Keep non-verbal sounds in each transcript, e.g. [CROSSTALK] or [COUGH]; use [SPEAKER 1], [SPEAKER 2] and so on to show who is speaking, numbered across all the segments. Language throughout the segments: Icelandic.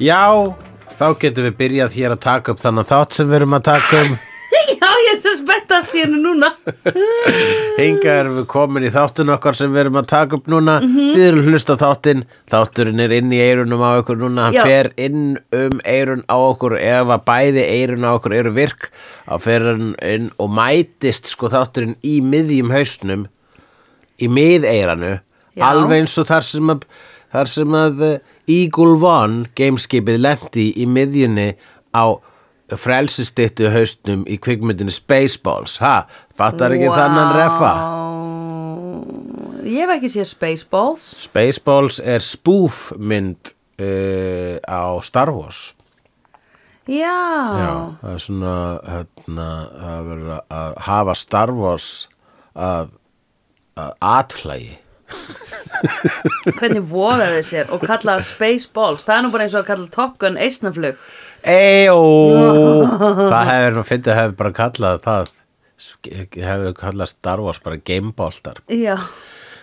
[SPEAKER 1] Já, þá getum við byrjað hér að taka upp þannig þátt sem við erum að taka um
[SPEAKER 2] Já, ég er svo spennt að því henni núna
[SPEAKER 1] Hinga erum við komin í þáttun okkar sem við erum að taka upp núna Þið eru að hlusta á þáttinn Þátturinn er inn í eirunum á okkur núna Hann
[SPEAKER 2] Já.
[SPEAKER 1] fer inn um eirun á okkur Ef að bæði eirun á okkur eru virk Þá fer hann inn og mætist sko þátturinn í miðjum hausnum Í miðeiranu
[SPEAKER 2] Já.
[SPEAKER 1] Alveg eins og þar sem að, þar sem að uh, Eagle One gameskipið lendi í miðjunni á frelsistittu hausnum í kvikmyndinu Spaceballs ha, fattar ekki þannan refa
[SPEAKER 2] Vá. Ég hef ekki séð Spaceballs
[SPEAKER 1] Spaceballs er spoof mynd uh, á Star Wars
[SPEAKER 2] Já,
[SPEAKER 1] Já, það er svona hérna, að vera að hafa Star Wars að, að atlægi
[SPEAKER 2] hvernig vogaðu sér og kalla það Spaceballs Það er nú bara eins og að kalla Top Gun eisnaflug
[SPEAKER 1] Ejó Það hefur nú fyndið hefur bara kallað það hefur kallað Star Wars bara gameboltar
[SPEAKER 2] Já,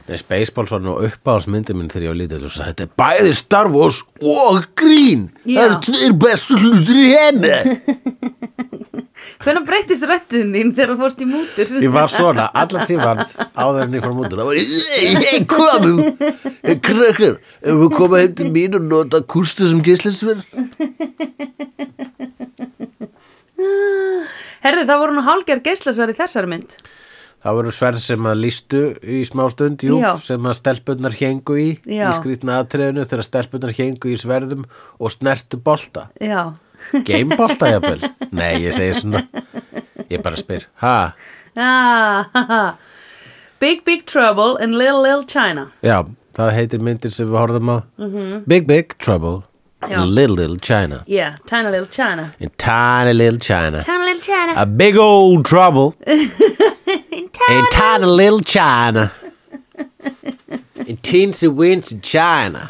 [SPEAKER 1] Nei, Spaceballs var nú uppáhalsmyndi minn þegar ég var lítið og sagði, þetta er bæði Star Wars og grín
[SPEAKER 2] Já.
[SPEAKER 1] það eru tveir bestu hlutir í henni
[SPEAKER 2] hvernig breytist röttin þín þegar þú fórst í mútur
[SPEAKER 1] Ég var svona, alla tíman áður en ég fór mútur Það var ég, ég, ég komum Ég krakkar, um? ef við koma heim til mín og nota kústu sem gíslisverð
[SPEAKER 2] Herðu, það voru nú hálger geislasverð í þessari mynd
[SPEAKER 1] Það voru sverð sem að lístu í smástund, jú,
[SPEAKER 2] Já.
[SPEAKER 1] sem að stelpunnar hengu í
[SPEAKER 2] Já.
[SPEAKER 1] í skrýtna aðtrefinu þegar stelpunnar hengu í sverðum og snertu bolta
[SPEAKER 2] Já,
[SPEAKER 1] Gamebolta, jafnvel? Nei, ég segi svona Ég bara spyr, ha?
[SPEAKER 2] ah, ha, ha. Big Big Trouble in Little Little China
[SPEAKER 1] Já, það heitir myndir sem við horfðum á -hmm. Big Big Trouble
[SPEAKER 2] Mhm. Já.
[SPEAKER 1] Little Little China
[SPEAKER 2] Yeah, Tiny Little China
[SPEAKER 1] In Tiny Little China
[SPEAKER 2] Tiny Little China
[SPEAKER 1] A big old
[SPEAKER 2] [LAUGHS]
[SPEAKER 1] trouble in tiny little China. In teensy weensy China.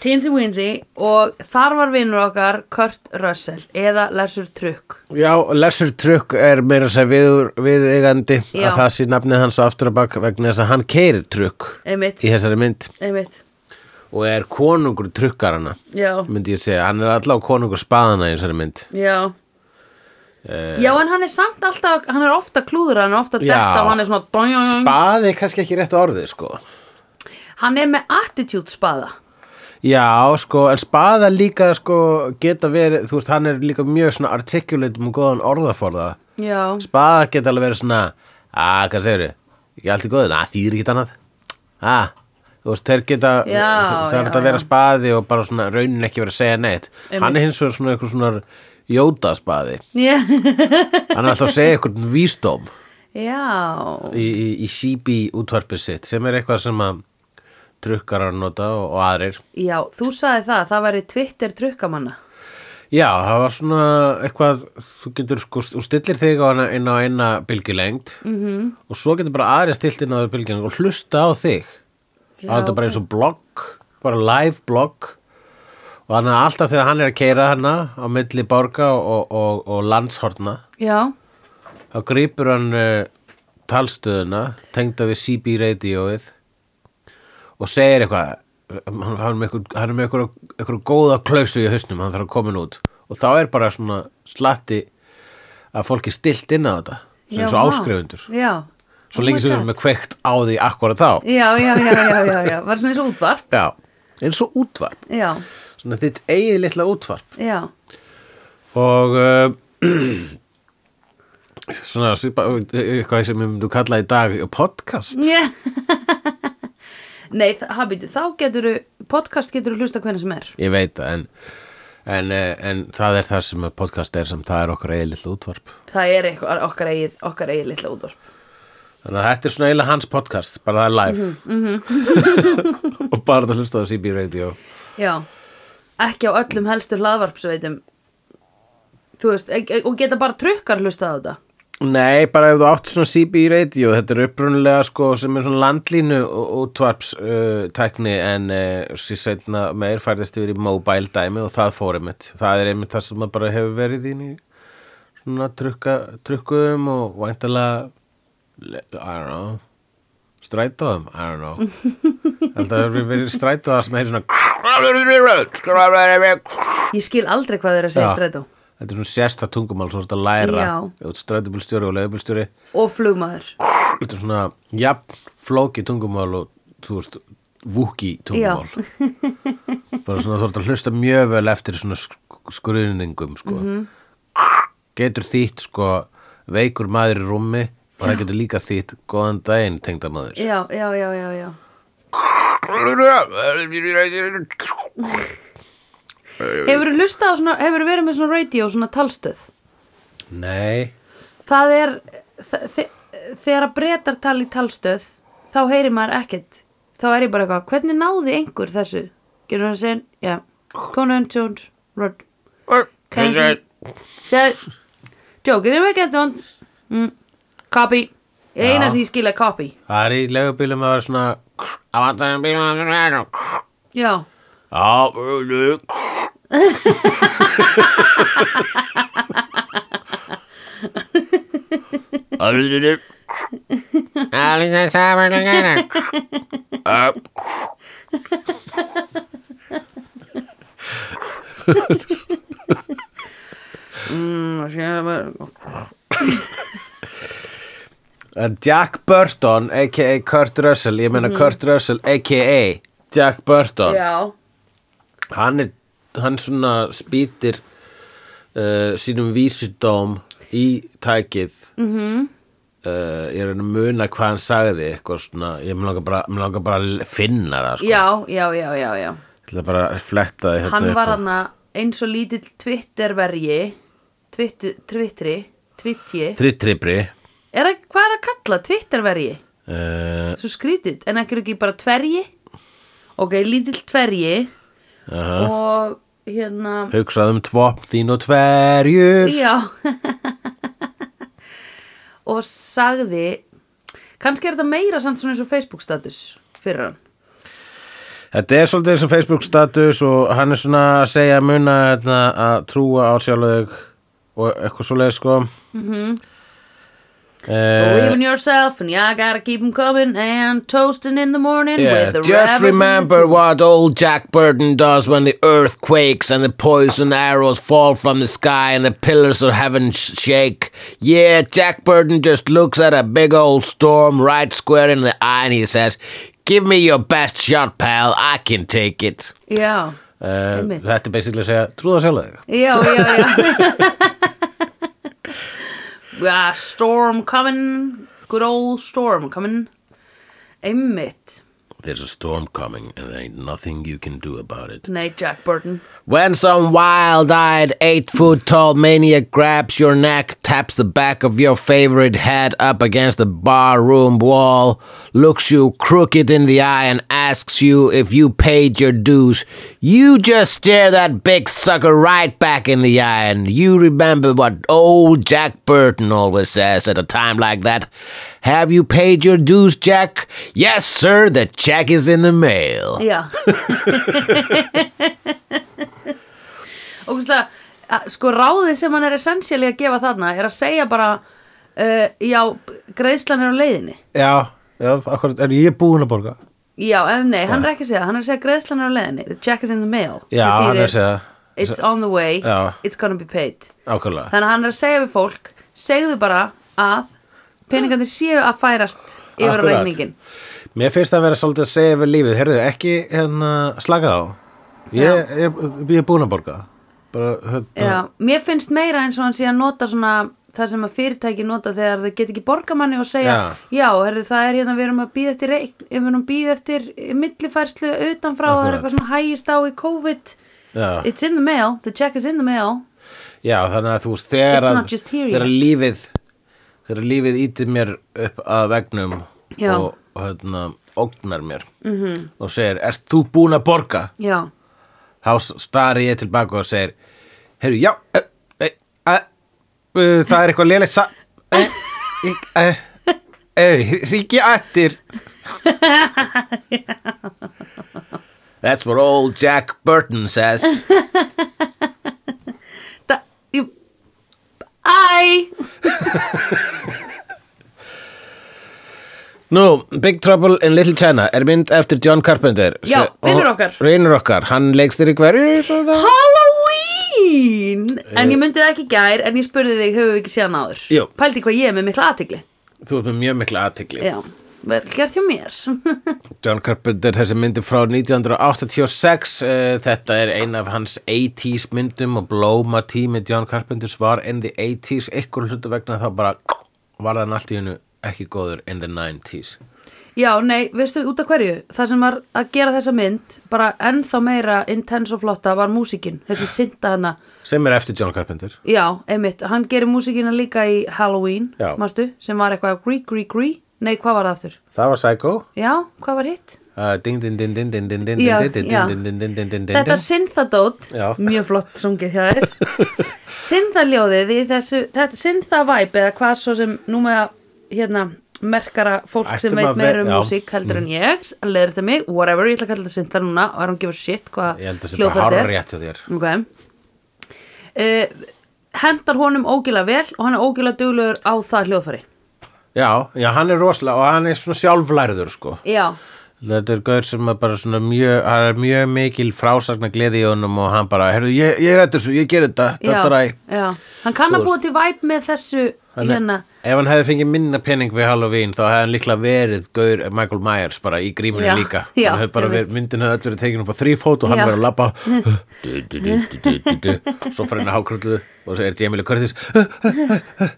[SPEAKER 2] Teensy Weensy og þar var vinnur okkar Kurt Russell eða Lessur Trukk
[SPEAKER 1] Já, Lesser Truck er meira að segja viður, viðeigandi
[SPEAKER 2] Já.
[SPEAKER 1] að það sé nafnið hans á aftur að bak vegna þess að hann keirir trukk
[SPEAKER 2] Einmitt,
[SPEAKER 1] í þessari mynd
[SPEAKER 2] einmitt
[SPEAKER 1] og er konungur trukkarana
[SPEAKER 2] Já,
[SPEAKER 1] myndi ég segja, hann er allavega konungur spaðana í þessari mynd
[SPEAKER 2] já Já, en hann er samt alltaf, hann er ofta klúður, hann er ofta
[SPEAKER 1] Eh. Já.
[SPEAKER 2] detta og hann er svona doing,
[SPEAKER 1] Spaði er kannski ekki rétt orðið sko
[SPEAKER 2] Hann er með attitude spaða
[SPEAKER 1] Já, sko, en spaða líka sko geta verið, þú veist, hann er líka mjög svona articulate um góðan orðaforða
[SPEAKER 2] Já,
[SPEAKER 1] spaða geta alveg verið svona að, hvað segir þau, ekki allt í góðu að þýðir ekki annað að, þú veist, þeir geta
[SPEAKER 2] Já,
[SPEAKER 1] það er
[SPEAKER 2] já,
[SPEAKER 1] að vera
[SPEAKER 2] já.
[SPEAKER 1] spaði og bara svona raunin ekki verið að segja neitt
[SPEAKER 2] Einmitt.
[SPEAKER 1] hann er hins vegar svona eitthvað svona jóta spaði,
[SPEAKER 2] yeah.
[SPEAKER 1] hann er alltaf að segja eitthvað vísdóm
[SPEAKER 2] [LAUGHS] já
[SPEAKER 1] í, í, í síbi útvarpið sitt sem er eitthvað sem að trukkar að nota og, og aðrir
[SPEAKER 2] Já, þú sagði það, það væri Twitter trukkamanna.
[SPEAKER 1] Já, það var svona eitthvað, þú getur sko, þú stillir þig á hana inn á eina bylgjulengd -hmm. og svo getur bara aðri stilt inn á þér bylgjulengd og hlusta á þig.
[SPEAKER 2] Já,
[SPEAKER 1] það er þetta bara eins og blogg, bara live blogg og þannig að alltaf þegar hann er að keira hana á milli borga og, og, og landshorna,
[SPEAKER 2] Já,
[SPEAKER 1] þá grýpur hann uh, talstöðuna, tengda við CB radioið og segir eitthvað hann, hann er með eitthvað, hann er með eitthvað, eitthvað góða klausu í hausnum, hann þarf að koma henni út og þá er bara svona slatti að fólki stilt inn á þetta sem
[SPEAKER 2] já,
[SPEAKER 1] svo
[SPEAKER 2] vá.
[SPEAKER 1] áskrifundur
[SPEAKER 2] Já.
[SPEAKER 1] svo lengi sem við erum með kveikt á því akkurat þá
[SPEAKER 2] Já, já, já, já, já, já, var svona eins og útvarp.
[SPEAKER 1] já, eins og útvarp
[SPEAKER 2] Já,
[SPEAKER 1] svona þitt eigið litla útvarp
[SPEAKER 2] já,
[SPEAKER 1] og uh, [CLEARS THROAT] svona svipa, eitthvað sem ég myndu kalla í dag podcast
[SPEAKER 2] já. Nei, það, habitu, þá getur podcast getur þú hlusta hvernig sem er.
[SPEAKER 1] ég veit það en, en, eh, en það er það sem podcast er sem það er okkar eigið litla útvarp
[SPEAKER 2] Það er eitthvað, okkar eigið, okkar eigið litla útvarp.
[SPEAKER 1] þannig að þetta er svona eiginlega hans podcast bara það er live [LAUGHS] og bara það hlusta á CB Radio
[SPEAKER 2] Já, ekki á öllum helstu hlaðvarpsveitum. Þú veist, ek- ek- og geta bara trukkar hlusta á þetta.
[SPEAKER 1] Nei, bara ef þú átt svona CB Radio þetta er upprunalega sko sem er svona landlínu útvarps uh, tækni en uh, sér setna meir færðist yfir í mobile dæmi og það fór einmitt það er einmitt það sem maður bara hefur verið inn í svona trukka, trukkum og væntalega I don't know Strætóðum? I don't know
[SPEAKER 2] [LAUGHS]
[SPEAKER 1] Held að það hefur verið strætóða sem heitir svona
[SPEAKER 2] Ég skil aldrei hvað þau eru að segja
[SPEAKER 1] Já.
[SPEAKER 2] strætó
[SPEAKER 1] Þetta er svona sérsta tungumál svo þetta læra
[SPEAKER 2] Já.
[SPEAKER 1] Ef þú ert Strætóbílstjóri og leigubílstjóri
[SPEAKER 2] og flugmaður
[SPEAKER 1] Þetta er svona jafn flóki tungumál og þú veist vúki tungumál [LAUGHS] Bara svona þú ert að hlusta mjög vel eftir svona sk- skruðningum sko. Getur þýtt sko veikur maður í rúmi og það getur líka þýtt góðan daginn tengda maður
[SPEAKER 2] Já, já, já, já, já Hefur þú hlustað á svona, hefur þú verið með svona radio, svona talstöð
[SPEAKER 1] Nei
[SPEAKER 2] Það er, þe- þe- þegar að breytar tal í talstöð þá heyri maður ekkert Þá er ég bara eitthvað, hvernig náði einhver þessu? Getur þú að segja, já, Conan Jones, Rod Kansi, Seth, Joe, getur þú að geta hann? Mm, Copy, eina
[SPEAKER 1] Já.
[SPEAKER 2] sem ég skil er copy
[SPEAKER 1] Það er í legubílum að vera svona að vantaðum bílum að vera
[SPEAKER 2] Já,
[SPEAKER 1] Já, völu Allir Allir það saman að gera
[SPEAKER 2] mm, síðan er bara-
[SPEAKER 1] eh, Jack Burton a.k.a. Kurt Russell ég meina Kurt Russell a.k.a. Jack Burton
[SPEAKER 2] já,
[SPEAKER 1] hann er hann svona spýtir uh, sínum vísidóm í tækið mm -hmm.
[SPEAKER 2] Mhm.
[SPEAKER 1] ég er að muna hvað hann sagði eitthvað svona, ég mér langar bara, mig langar bara að finna það sko,
[SPEAKER 2] já, já, já, já, já.
[SPEAKER 1] ég ætla bara að fletta því hérna
[SPEAKER 2] hann
[SPEAKER 1] upp
[SPEAKER 2] var
[SPEAKER 1] á-
[SPEAKER 2] hann eins og lítill Twitterverji Twitter, Twitteri Twittji
[SPEAKER 1] Trittribri
[SPEAKER 2] er að, hvað er að kalla Twitterverji?
[SPEAKER 1] uh,
[SPEAKER 2] Svo skrítið, en ekki ekki bara tverji Ok, lítill tverji
[SPEAKER 1] uh,
[SPEAKER 2] og hérna
[SPEAKER 1] hugsaði um tvopp þín og tverjur
[SPEAKER 2] Já [LAUGHS] og sagði kannski er þetta meira samt svona eins og Facebook status fyrir hann
[SPEAKER 1] Þetta er svolítið eins og Facebook status og hann er svona að segja að muna hérna, að trúa á sjálfug og eitthvað svoleið sko mm
[SPEAKER 2] Mhm.
[SPEAKER 1] -hmm.
[SPEAKER 2] Believe in yourself and yeah, I gotta keep 'em coming and toasting in the morning
[SPEAKER 1] Yeah,
[SPEAKER 2] with the
[SPEAKER 1] just
[SPEAKER 2] rabbits and
[SPEAKER 1] remember what old Jack Burton does when the earth quakes and the poison arrows fall from the sky and the pillars of heaven sh- shake. Yeah, Jack Burton just looks at a big old storm right square in the eye and he says, Give me your best shot, pal. I can take it.
[SPEAKER 2] Já,
[SPEAKER 1] Uh,
[SPEAKER 2] Einmitt.
[SPEAKER 1] þetta er basically að segja, trúða sjálflega.
[SPEAKER 2] já, já,
[SPEAKER 1] [LAUGHS]
[SPEAKER 2] [LAUGHS] já yeah, Storm coming Good old storm coming Einmitt
[SPEAKER 1] There's a storm coming and there ain't nothing you can do about it.
[SPEAKER 2] Nei, Jack Burton
[SPEAKER 1] When some wild eyed, eight foot tall maniac grabs your neck, taps the back of your favorite head up against the barroom wall, looks you crooked in the eye, and asks you if you paid your dues, you just stare that big sucker right back in the eye, and you remember what old Jack Burton always says at a time like that Have you paid your dues, Jack? Yes, sir, the check is in the mail. [LAUGHS]
[SPEAKER 2] Já Ógustlega Sko ráðið sem hann er essentially að gefa þarna er að segja bara uh, Já, greiðslan er á leiðinni
[SPEAKER 1] Já, já, akkurat, er ég búin að borga?
[SPEAKER 2] Já, ef nei, hann er ekki að segja, það, hann er að segja greiðslan er á leiðinni The check is in the mail
[SPEAKER 1] Já,
[SPEAKER 2] Sem
[SPEAKER 1] hann er að
[SPEAKER 2] þýðir,
[SPEAKER 1] segja það
[SPEAKER 2] It's on the way,
[SPEAKER 1] Já.
[SPEAKER 2] it's gonna be paid
[SPEAKER 1] Ákvæmlega
[SPEAKER 2] Þannig að hann er að segja við fólk segðu bara að peningandi séu að færast yfir Akkurat.
[SPEAKER 1] Akkurat.
[SPEAKER 2] reyningin
[SPEAKER 1] Mér finnst það að vera svolítið að segja við lífið Herðu, ekki hérna, slaka þá ég, ég, ég er búin að borga Bara, hérna,
[SPEAKER 2] Já, mér finnst meira eins og hann sé að nota svona það sem að fyrirtæki nota þegar þau get ekki borga manni og segja já,
[SPEAKER 1] Já.
[SPEAKER 2] herðu, það er hérna við erum að býða eftir, reik- við erum að býða eftir millifærslu utanfrá og það er
[SPEAKER 1] Akkurat.
[SPEAKER 2] eitthvað svona hægist á í COVID
[SPEAKER 1] já,
[SPEAKER 2] It's in the mail, the check is in the mail
[SPEAKER 1] já, þannig að þú veist Þegar,
[SPEAKER 2] It's
[SPEAKER 1] að,
[SPEAKER 2] not just here
[SPEAKER 1] þegar
[SPEAKER 2] yet.
[SPEAKER 1] lífið Þegar lífið ítir mér upp að vegnum
[SPEAKER 2] Já. Mhm.
[SPEAKER 1] Og, og hérna, ógnar mér -hmm. Og segir, ert þú búin að borga?
[SPEAKER 2] Já,
[SPEAKER 1] Þá stari ég tilbaka og segir Herru, já e, e, e, e, Það er eitthvað lélegt sa- e, e, e, e, Ríki ættir [LAUGHS] That's what old Jack Burton says
[SPEAKER 2] da, ég, Æ
[SPEAKER 1] Nú, Big Trouble in Little China er mynd eftir John Carpenter
[SPEAKER 2] Já,
[SPEAKER 1] Se-
[SPEAKER 2] vinur
[SPEAKER 1] og-
[SPEAKER 2] okkar.
[SPEAKER 1] Vinur okkar, hann leikst í hverju svona?
[SPEAKER 2] Halloween En ég myndi það ekki í gær En ég spurði þig, höfum við ekki séð hann áður
[SPEAKER 1] Eh. Jú.
[SPEAKER 2] Pældi hvað ég er með mikla athygli
[SPEAKER 1] Þú ert með mjög mikla aðtigli
[SPEAKER 2] Já, vel gert hjá mér [LAUGHS]
[SPEAKER 1] John Carpenter, þessi myndi frá 1986 uh, Þetta er ein af hans 80s myndum og blóma tími John Carpenters var in the 80s ykkur hlutu vegna þá bara var hann allt í hennu ekki góður in the 90s
[SPEAKER 2] Já, nei, veistu út af hverju Það sem var að gera þessa mynd Bara ennþá meira intense og flotta var músíkin Þessi synda hana
[SPEAKER 1] sem er eftir John Carpenter
[SPEAKER 2] Já, einmitt, hann gerir músíkina líka í Halloween
[SPEAKER 1] Já.
[SPEAKER 2] Manstu, sem var eitthvað grí, grí, grí Nei, hvað var það aftur?
[SPEAKER 1] Það var Psycho
[SPEAKER 2] Já, hvað var hitt?
[SPEAKER 1] Uh, ding, ding, ding, ding, ding, ding, ding,
[SPEAKER 2] Já,
[SPEAKER 1] ding, ding,
[SPEAKER 2] já.
[SPEAKER 1] ding, ding, ding, ding, ding, ding,
[SPEAKER 2] Þetta
[SPEAKER 1] ding.
[SPEAKER 2] syntadót,
[SPEAKER 1] Já.
[SPEAKER 2] mjög flott sungið hjá
[SPEAKER 1] [LAUGHS]
[SPEAKER 2] þér Synthaljóðið í þessu, þetta synthavæp eða hvað svo sem nú með að hérna, merkara fólk
[SPEAKER 1] Ættum
[SPEAKER 2] sem veit
[SPEAKER 1] að ve-
[SPEAKER 2] meira um
[SPEAKER 1] já. Mm.
[SPEAKER 2] músík heldur en ég, leður þetta mig, whatever, ég ætla að kalla þetta synthar núna og er hún gefa shit hvað
[SPEAKER 1] Ég held að það sé bara
[SPEAKER 2] hljóðfært er
[SPEAKER 1] hárrétt hjá þér
[SPEAKER 2] okay. uh, Hendar honum ógila vel og hann er ógila duglegur á það hljóðfæri
[SPEAKER 1] Já, já, hann er rosalega og hann er svona sjálflæriður sko
[SPEAKER 2] Já,
[SPEAKER 1] Þetta er gaur sem er bara svona mjög hann er mjög mikil frásagna gleði í honum og hann bara, heyrðu, ég, ég er þetta svo, ég ger þetta
[SPEAKER 2] já,
[SPEAKER 1] þetta ræ
[SPEAKER 2] já Hann kann
[SPEAKER 1] Þú
[SPEAKER 2] að búa til væp með þessu
[SPEAKER 1] Hann er-
[SPEAKER 2] hérna
[SPEAKER 1] Ef hann hefði fengið minna pening við Halloween þá hefði hann líklega verið gaur Michael Myers bara í gríminu
[SPEAKER 2] Já,
[SPEAKER 1] líka
[SPEAKER 2] já,
[SPEAKER 1] Hann hefði bara
[SPEAKER 2] ég veit.
[SPEAKER 1] verið, myndin hefði öll verið tekin upp á þrýfót og hann
[SPEAKER 2] Já.
[SPEAKER 1] verið að labba
[SPEAKER 2] [LAUGHS]
[SPEAKER 1] [LAUGHS] du, du, du, du, du, du, du. svo fyrir hann að hákrullu og svo er Jamie Lee Curtis [LAUGHS]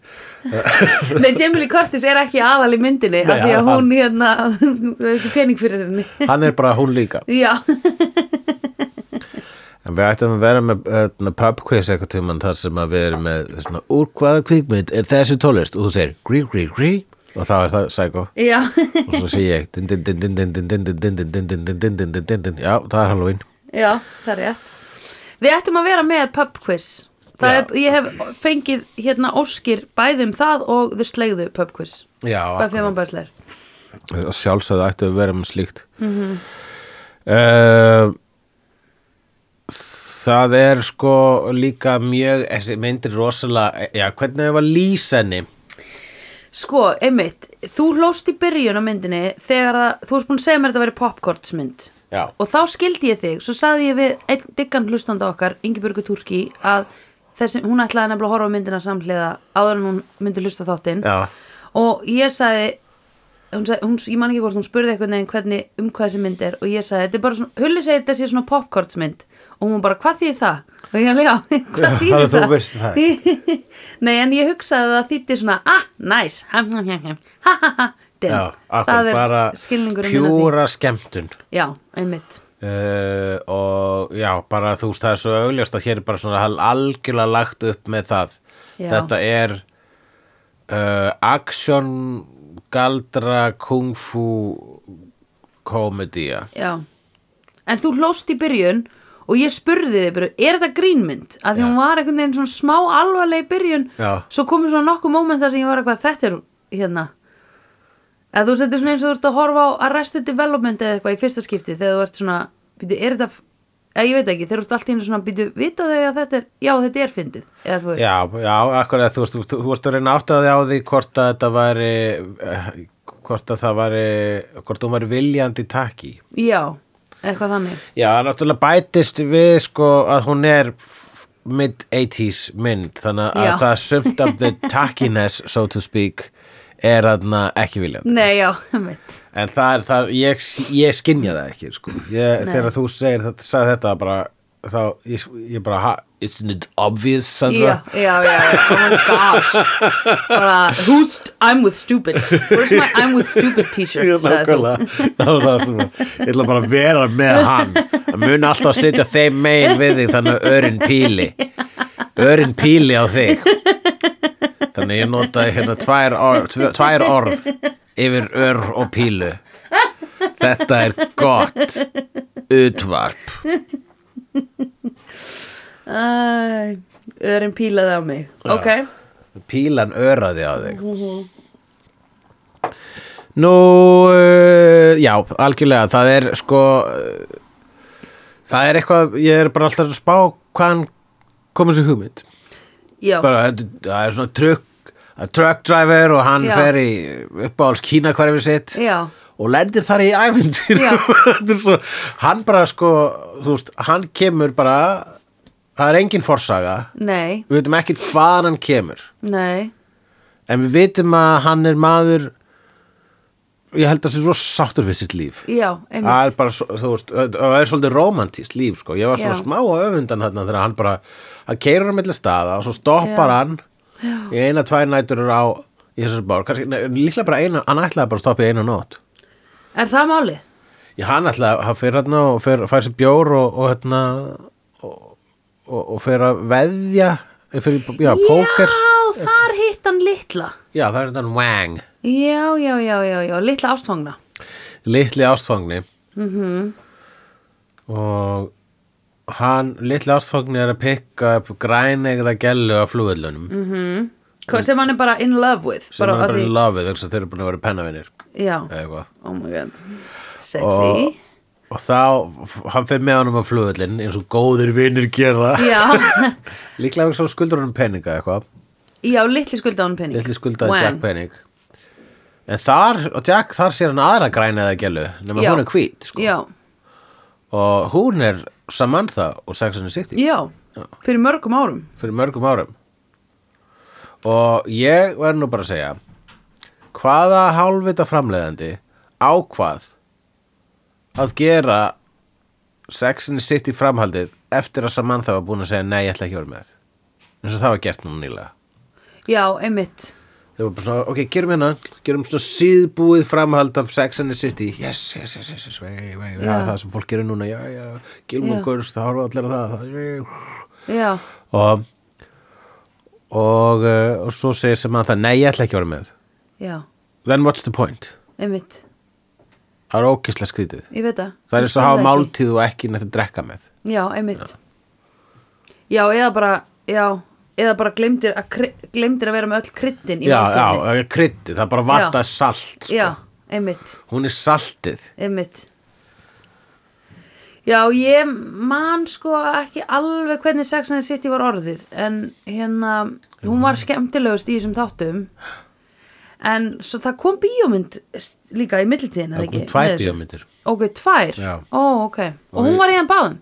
[SPEAKER 2] Nei, Jamie Lee Curtis er ekki aðal í myndinni af
[SPEAKER 1] Nei,
[SPEAKER 2] því að
[SPEAKER 1] hann-
[SPEAKER 2] hún hérna [LAUGHS] hefur ekki pening fyrir henni
[SPEAKER 1] hann er bara hún líka
[SPEAKER 2] Já, [LAUGHS]
[SPEAKER 1] En við ættum að vera með uh, pub quiz eitthvað tímann þar sem að við erum með svona, úr hvaða kvikmynd er þessi tólest og þú segir grí, grí, grí og þá er það sækó
[SPEAKER 2] já
[SPEAKER 1] og svo sé ég din, din, din, din, din, din, din, din, din, din, din, din, din, din, din, din, din. já, það er Halloween
[SPEAKER 2] Já, það er rétt Við ættum að vera með pub quiz Það
[SPEAKER 1] Já.
[SPEAKER 2] er, Ég hef fengið hérna óskir bæði um það og þau slegðu pub quiz
[SPEAKER 1] Já,
[SPEAKER 2] Buffy og Bæsler
[SPEAKER 1] og sjálfsögðu ættum að vera með slíkt uh, Það er sko líka mjög þessi myndir rosalega, já, hvernig hefur að lýsa henni
[SPEAKER 2] Sko, einmitt, þú hlóst í byrjun á myndinni þegar að, þú varst búin að segja mér að þetta veri popcornsmynd
[SPEAKER 1] Já,
[SPEAKER 2] og þá skildi ég þig, svo saði ég við einn diggan hlustanda okkar, Ingibjörgu Turki að þessi, hún ætlaði nefnilega að horfa á myndina samhliða áður en hún myndi hlusta á þáttinn
[SPEAKER 1] já,
[SPEAKER 2] og ég sagði hún sagði, hún, ég man ekki hvort hún spurði eitthvað neginn hvernig um hvað þessi mynd er og ég sagði, þetta er bara svona, Hulli segir þetta sé svona popcornsmynd og hún bara, hvað þýðir það? og ég alveg, já, [LAUGHS] hvað þýðir
[SPEAKER 1] þú
[SPEAKER 2] það?
[SPEAKER 1] veist það
[SPEAKER 2] [LAUGHS] Nei, en ég hugsaði að það þýtti svona, ah, nice, ham, ham, ham, ham, ha, ha, ha, dim.
[SPEAKER 1] Já, akkur,
[SPEAKER 2] það er
[SPEAKER 1] bara
[SPEAKER 2] skilningurinn minn á því.
[SPEAKER 1] pjúra skemmtun
[SPEAKER 2] Já, einmitt.
[SPEAKER 1] uh, og já, bara þú veist það er svo augljóst að hér er bara svona hal- algjörlega lagt upp með það
[SPEAKER 2] Já.
[SPEAKER 1] þetta er uh, action galdra kung fu komedía
[SPEAKER 2] Já. En þú hlóst í byrjun og ég spurði þig, bara, er þetta grínmynd? Að því
[SPEAKER 1] Já.
[SPEAKER 2] hún var einhvern veginn svona smá alvarleg í byrjun,
[SPEAKER 1] Já.
[SPEAKER 2] svo komið svona nokkuð móment þar sem ég var eitthvað, þetta er hérna. Eða þú settir svona eins og þú ert að horfa á Arrested Development eða eitthvað í fyrsta skipti þegar þú ert svona, býtu, er þetta, f- eða ég veit ekki, þegar þú ert allt í einu svona, býtu, vita þau að þetta er, já, þetta er fyndið, eða þú veist.
[SPEAKER 1] Já, já, akkur að þú veist, þú- þú þú veist að reyna áttaði á því hvort að þetta væri eh, hvort að það væri hvort hún væri viljandi takki
[SPEAKER 2] Já, eitthvað þannig.
[SPEAKER 1] Já, það náttúrulega bætist við sko að hún er mid-80s mynd þannig að
[SPEAKER 2] Já.
[SPEAKER 1] það sumt of
[SPEAKER 2] [LAUGHS]
[SPEAKER 1] the tackiness so to speak er þarna ekki viljandi
[SPEAKER 2] Nei, já, [LAUGHS] mitt.
[SPEAKER 1] en það er það, ég, ég skinja það ekki sko, ég,
[SPEAKER 2] Nei.
[SPEAKER 1] þegar þú segir þetta, sagði þetta bara, þá ég, ég bara, ha, isn't it obvious Sandra?
[SPEAKER 2] Já, já, já, já, oh my gosh bara, who's, I'm with stupid where's my I'm with stupid
[SPEAKER 1] [LAUGHS] Já,
[SPEAKER 2] t-shirt sagði þú.
[SPEAKER 1] nákvæmlega það var það sem að- ég ætla bara að vera með hann að mun alltaf að setja þeim megin við þig þannig að örin píli örin píli á þig þannig að ég notaði hérna tvær orð, tv- tvær orð yfir ör og pílu þetta er gott utvarp
[SPEAKER 2] Æ, örin pílaði á mig ok,
[SPEAKER 1] pílan öraði á þig
[SPEAKER 2] Mhm.
[SPEAKER 1] Nú, uh, já, algjörlega, það er sko, uh, það er eitthvað, ég er bara alltaf að spá hvaðan komið sér hugmynd.
[SPEAKER 2] já
[SPEAKER 1] Bara, þetta- það er svona trukk, að truck driver og hann
[SPEAKER 2] Já.
[SPEAKER 1] fer í uppáhalds Kína hverfið sitt
[SPEAKER 2] Já.
[SPEAKER 1] og lendir þar í æfintir [LAUGHS]
[SPEAKER 2] Já.
[SPEAKER 1] svo, hann bara sko þú veist, hann kemur bara það er engin forsaga
[SPEAKER 2] Nei,
[SPEAKER 1] við veitum ekkert hvaðan hann kemur
[SPEAKER 2] nei,
[SPEAKER 1] en við veitum að hann er maður ég held að það sé svo sáttur við sitt líf
[SPEAKER 2] já,
[SPEAKER 1] það
[SPEAKER 2] einmitt
[SPEAKER 1] er bara, svo- þú veist, það er svolítið romantískt líf, sko, ég var svona
[SPEAKER 2] Já.
[SPEAKER 1] smá á öfundan þarna þegar hann bara, hann keirur á milli staða og svo stoppar
[SPEAKER 2] Já.
[SPEAKER 1] hann í eina, tvær nætur á í þessari bár, kannski, nei, líklega bara eina hann ætlaði bara að stoppa í eina nótt
[SPEAKER 2] Er það málið?
[SPEAKER 1] ég hann ætlaði, hann fyrir hann og fyrir, fær sér bjór og, og hérna og, og, og fyrir að veðja fyrir, já, póker
[SPEAKER 2] Já, þar hitt hann litla
[SPEAKER 1] já, það er þetta Wang
[SPEAKER 2] Já, já, já, já, já, litla ástfangna
[SPEAKER 1] litli ástfangni -hmm. og hann, litli ástfangni er að pikka upp grænegða gellu af flúðlunum mm -hmm.
[SPEAKER 2] Hva- Sem hann er bara in love with
[SPEAKER 1] sem hann er
[SPEAKER 2] að
[SPEAKER 1] bara
[SPEAKER 2] því-
[SPEAKER 1] í lofið þess að þeir eru búin að vera pennavinir
[SPEAKER 2] Já,
[SPEAKER 1] eða eitthvað
[SPEAKER 2] oh my god Sexy
[SPEAKER 1] og, og þá, hann fer með honum á flúðlun eins og góðir vinnir gera
[SPEAKER 2] Já, [LAUGHS]
[SPEAKER 1] [LAUGHS] líklega vegna svo skuldur honum peninga eitthvað
[SPEAKER 2] já, litli skulda hann pening
[SPEAKER 1] litli skuldaði
[SPEAKER 2] Wang.
[SPEAKER 1] Jack pening en þar, og Jack, þar sér hann aðra grænegða gellu nema
[SPEAKER 2] Já.
[SPEAKER 1] hún er hvít sko.
[SPEAKER 2] Já,
[SPEAKER 1] og hún er Samantha og Sex and the City
[SPEAKER 2] já, fyrir mörgum árum
[SPEAKER 1] fyrir mörgum árum og ég verð nú bara að segja hvaða hálfvita framleiðandi ákvað að gera Sex and the City framhaldið eftir að Samantha var búin að segja nei, ég ætla ekki að vera með eins og það var gert núna nýlega
[SPEAKER 2] Já, einmitt
[SPEAKER 1] þau var bara svona, ok, gerum hérna gerum svona síðbúið framhald af Sex and the City yes, yes, yes, yes, yes vei, vei,
[SPEAKER 2] Já.
[SPEAKER 1] vei, það er það sem fólk gerir núna já, já, Gilmore
[SPEAKER 2] Já.
[SPEAKER 1] Girls, það horfa allir að það, það vei,
[SPEAKER 2] Já,
[SPEAKER 1] og og, uh, og svo segir sem að það nei, ég ætla ekki að vera með
[SPEAKER 2] já,
[SPEAKER 1] then what's the point?
[SPEAKER 2] einmitt
[SPEAKER 1] það er ókislega skrítið
[SPEAKER 2] Ég veit það Ég
[SPEAKER 1] það er eins og
[SPEAKER 2] skil
[SPEAKER 1] að hafa
[SPEAKER 2] ekki.
[SPEAKER 1] máltíð og ekki nætti að drekka með
[SPEAKER 2] Já, einmitt Já, eða bara, já Eða bara glemdir að, kry- gleymdir að vera með öll kryddin í
[SPEAKER 1] já,
[SPEAKER 2] máltíðinni.
[SPEAKER 1] já, kryddið, það er bara
[SPEAKER 2] Já.
[SPEAKER 1] vartað salt sko.
[SPEAKER 2] já, einmitt
[SPEAKER 1] hún er saltið
[SPEAKER 2] Einmitt Já, ég man sko ekki alveg hvernig Sex and the City var orðið en hérna, hún var skemmtilegust í þessum þáttum en svo það kom bíómynd s- líka í millitíðin, eða
[SPEAKER 1] það
[SPEAKER 2] ekki?
[SPEAKER 1] er tvær
[SPEAKER 2] Með þessu.
[SPEAKER 1] bíómyndir
[SPEAKER 2] Ok, tvær?
[SPEAKER 1] Já.
[SPEAKER 2] Ó, ok. Og
[SPEAKER 1] Og
[SPEAKER 2] hún
[SPEAKER 1] við-
[SPEAKER 2] var í hann báðum?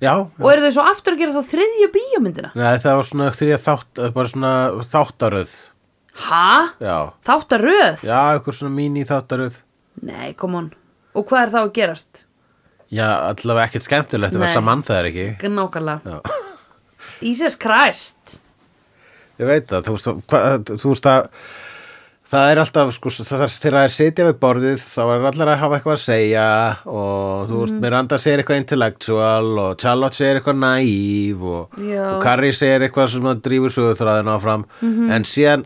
[SPEAKER 1] já,
[SPEAKER 2] Og eru þau svo aftur að gera þá þriðju bíómyndina?
[SPEAKER 1] Nei, það var svona þrjá þátt, bara svona þáttaröð
[SPEAKER 2] Ha?
[SPEAKER 1] já,
[SPEAKER 2] Þáttaröð?
[SPEAKER 1] já, einhver svona mini þáttaröð
[SPEAKER 2] Nei, kom on. Og hvað er þá að gerast?
[SPEAKER 1] já, allavega ekkert skemmtilegt ef
[SPEAKER 2] Nei.
[SPEAKER 1] að saman það er ekki
[SPEAKER 2] Nákvæmlega.
[SPEAKER 1] já
[SPEAKER 2] Jesus Christ.
[SPEAKER 1] Ég veit það, þú veist, hvað, þú veist að það er alltaf, sko, það er til að það er sitja við borðið, þá er allar að hafa eitthvað að segja og þú veist, Miranda segir eitthvað intellectual og Charlotte segir eitthvað naív og,
[SPEAKER 2] Já.
[SPEAKER 1] og Carrie segir eitthvað sem að drífur sögurþræðin áfram en síðan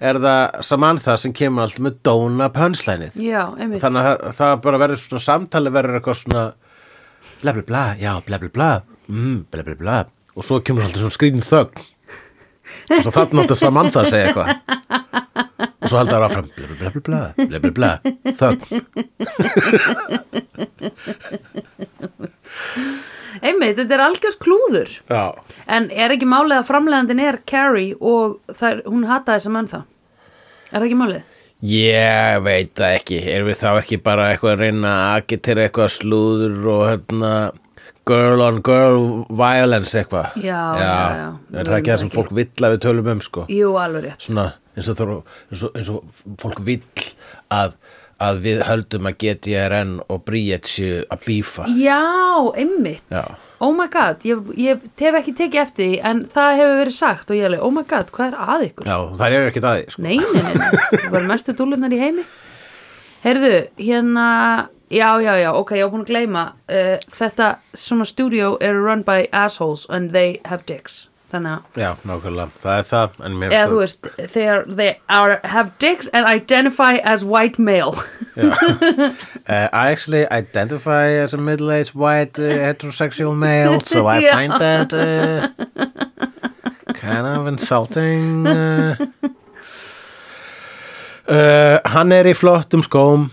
[SPEAKER 1] er það Samantha sem kemur alltaf með dóna pönslænið
[SPEAKER 2] Já, einmitt.
[SPEAKER 1] þannig að það, það bara verður svona samtali verður eitthvað svona bla bla bla, já bla bla bla mm, bla bla bla og svo kemur alltaf svona skrýn þögn og svo þarna átti Samantha að segja eitthvað og svo halda það áfram bla bla bla bla bla bla bla bla þögn
[SPEAKER 2] Einmitt, þetta er algjörst klúður.
[SPEAKER 1] já.
[SPEAKER 2] En er ekki málið að framleiðandin er Carrie og þær, hún hataði sem enn það? Er það ekki málið?
[SPEAKER 1] ég veit það ekki erum við þá ekki bara eitthvað að reyna að agitera eitthvað slúður og hérna girl on girl violence eitthvað
[SPEAKER 2] Já, já, já.
[SPEAKER 1] er það ekki það sem fólk vill að við tölum um sko
[SPEAKER 2] Jú, alveg rétt.
[SPEAKER 1] svona eins og, þarf, eins og, eins og fólk vill að, að við höldum að GTRN og Bríett séu að bífa
[SPEAKER 2] Já, einmitt.
[SPEAKER 1] Já.
[SPEAKER 2] Oh my god, ég, ég hef ekki tekið eftir því en það hefur verið sagt og ég er alveg, oh my god, hvað er að ykkur?
[SPEAKER 1] Já, það er ekkert að því sko.
[SPEAKER 2] Nei, nei, nei, nei, það var mestu dúlurnar í heimi Heyrðu, hérna Já, já, já, ok, ég var búin að gleyma uh, Þetta svona studio er run by assholes and they have dicks Þannig að,
[SPEAKER 1] Já, nákvæmlega, það er það en
[SPEAKER 2] eða
[SPEAKER 1] mér finnst
[SPEAKER 2] þú veist they, are, they are, have dicks and identify as white male [LAUGHS]
[SPEAKER 1] Uh, I actually identify as a middle-aged white uh, heterosexual male
[SPEAKER 2] [LAUGHS]
[SPEAKER 1] so I
[SPEAKER 2] Já.
[SPEAKER 1] find that uh, kind of insulting uh. Uh, Hann er í flottum skóm